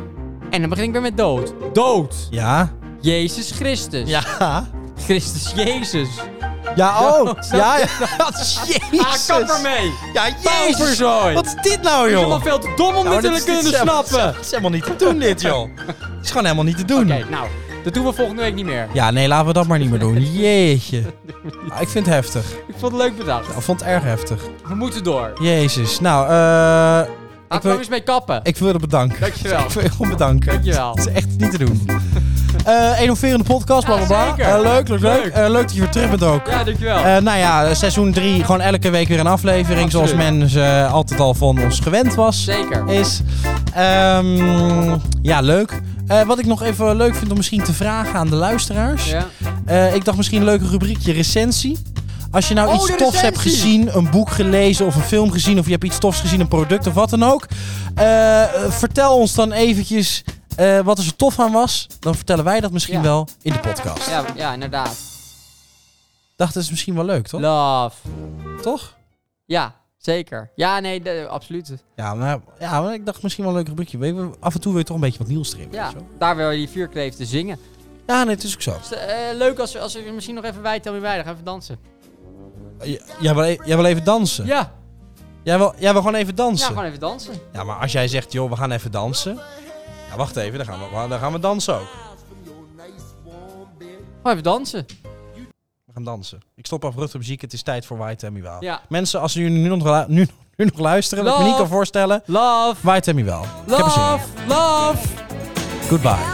Speaker 2: En dan begin ik weer met dood. Dood.
Speaker 1: Ja.
Speaker 2: Jezus Christus.
Speaker 1: Ja.
Speaker 2: Christus Jezus.
Speaker 1: Ja, oh.
Speaker 2: snap
Speaker 1: Ja, ja. Jezus.
Speaker 2: Ah, kap ermee.
Speaker 1: Ja, jezus.
Speaker 2: Pauperzooi.
Speaker 1: Wat is dit nou,
Speaker 2: is
Speaker 1: joh?
Speaker 2: allemaal veel te dom om
Speaker 1: Nou,
Speaker 2: dit te
Speaker 1: dit is- dit
Speaker 2: kunnen
Speaker 1: is helemaal-
Speaker 2: snappen.
Speaker 1: Het is helemaal niet te doen, dit, joh. Het is gewoon helemaal niet te doen.
Speaker 2: Oké, nou. Dat doen we volgende week niet meer.
Speaker 1: Ja, nee, laten we dat maar niet meer doen. Jeetje. Ah, ik vind het heftig.
Speaker 2: Ik vond het leuk bedacht.
Speaker 1: Ik vond het erg heftig.
Speaker 2: We moeten door.
Speaker 1: Jezus. Nou, eh...
Speaker 2: Laten we
Speaker 1: wil-
Speaker 2: eens mee kappen.
Speaker 1: Ik wil je bedanken.
Speaker 2: Dankjewel.
Speaker 1: Ik wil je gewoon bedanken.
Speaker 2: Dankjewel.
Speaker 1: Het is echt niet te doen. Eh innoverende podcast, bla bla bla.
Speaker 2: Ja, zeker.
Speaker 1: Eh, leuk, leuk, leuk.
Speaker 2: Leuk.
Speaker 1: Eh, leuk dat je weer terug bent ook.
Speaker 2: Ja, dankjewel.
Speaker 1: Eh, nou ja, seizoen 3, gewoon elke week weer een aflevering. Zoals
Speaker 2: Absoluut.
Speaker 1: men ze altijd al van ons gewend was.
Speaker 2: Zeker.
Speaker 1: Is. Ehm, ja, leuk. Eh, wat ik nog even leuk vind om misschien te vragen aan de luisteraars.
Speaker 2: Ja.
Speaker 1: Eh, ik dacht misschien een leuke rubriekje recensie. Als je nou
Speaker 2: Oh,
Speaker 1: iets
Speaker 2: de
Speaker 1: tofs hebt
Speaker 2: recensie!
Speaker 1: gezien, een boek gelezen of een film gezien... of je hebt iets tofs gezien, een product of wat dan ook... eh, vertel ons dan eventjes eh, wat er zo tof aan was. Dan vertellen wij dat misschien
Speaker 2: Ja.
Speaker 1: wel in de podcast.
Speaker 2: Ja, ja, inderdaad.
Speaker 1: Dacht, dat is misschien wel leuk, toch?
Speaker 2: Love.
Speaker 1: toch?
Speaker 2: Ja, zeker. Ja, nee, de- absoluut.
Speaker 1: Ja, maar, ja, maar ik dacht misschien wel een leuk rubriekje. Weet je, Af en toe wil je toch een beetje wat nieuws erin. weet
Speaker 2: Ja,
Speaker 1: je wel.
Speaker 2: daar wil je die vierkleeften zingen.
Speaker 1: ja nee, het is ook zo.
Speaker 2: Dus, eh, leuk als, als we misschien nog even wij, tel me bij, dan gaan we even dansen.
Speaker 1: J- Jij wil, e- jij wil even dansen?
Speaker 2: Ja,
Speaker 1: Jij, wil, jij wil gewoon even
Speaker 2: ja
Speaker 1: dansen?
Speaker 2: gewoon even dansen.
Speaker 1: Ja, maar als jij zegt, joh, we gaan even dansen. Ja, wacht even, dan gaan we, dan gaan we dansen ook.
Speaker 2: Gewoon even dansen.
Speaker 1: We gaan dansen. Ik stop af de muziek, het is tijd voor White Tammy Wow.
Speaker 2: Ja.
Speaker 1: Mensen, als jullie nu nog, lu- nu, nu nog luisteren, wat ik me
Speaker 2: Love.
Speaker 1: niet kan voorstellen.
Speaker 2: Love,
Speaker 1: White Tammy Wow. Ik heb er zin in.
Speaker 2: love, love.
Speaker 1: Goodbye.
Speaker 3: Oh, oh,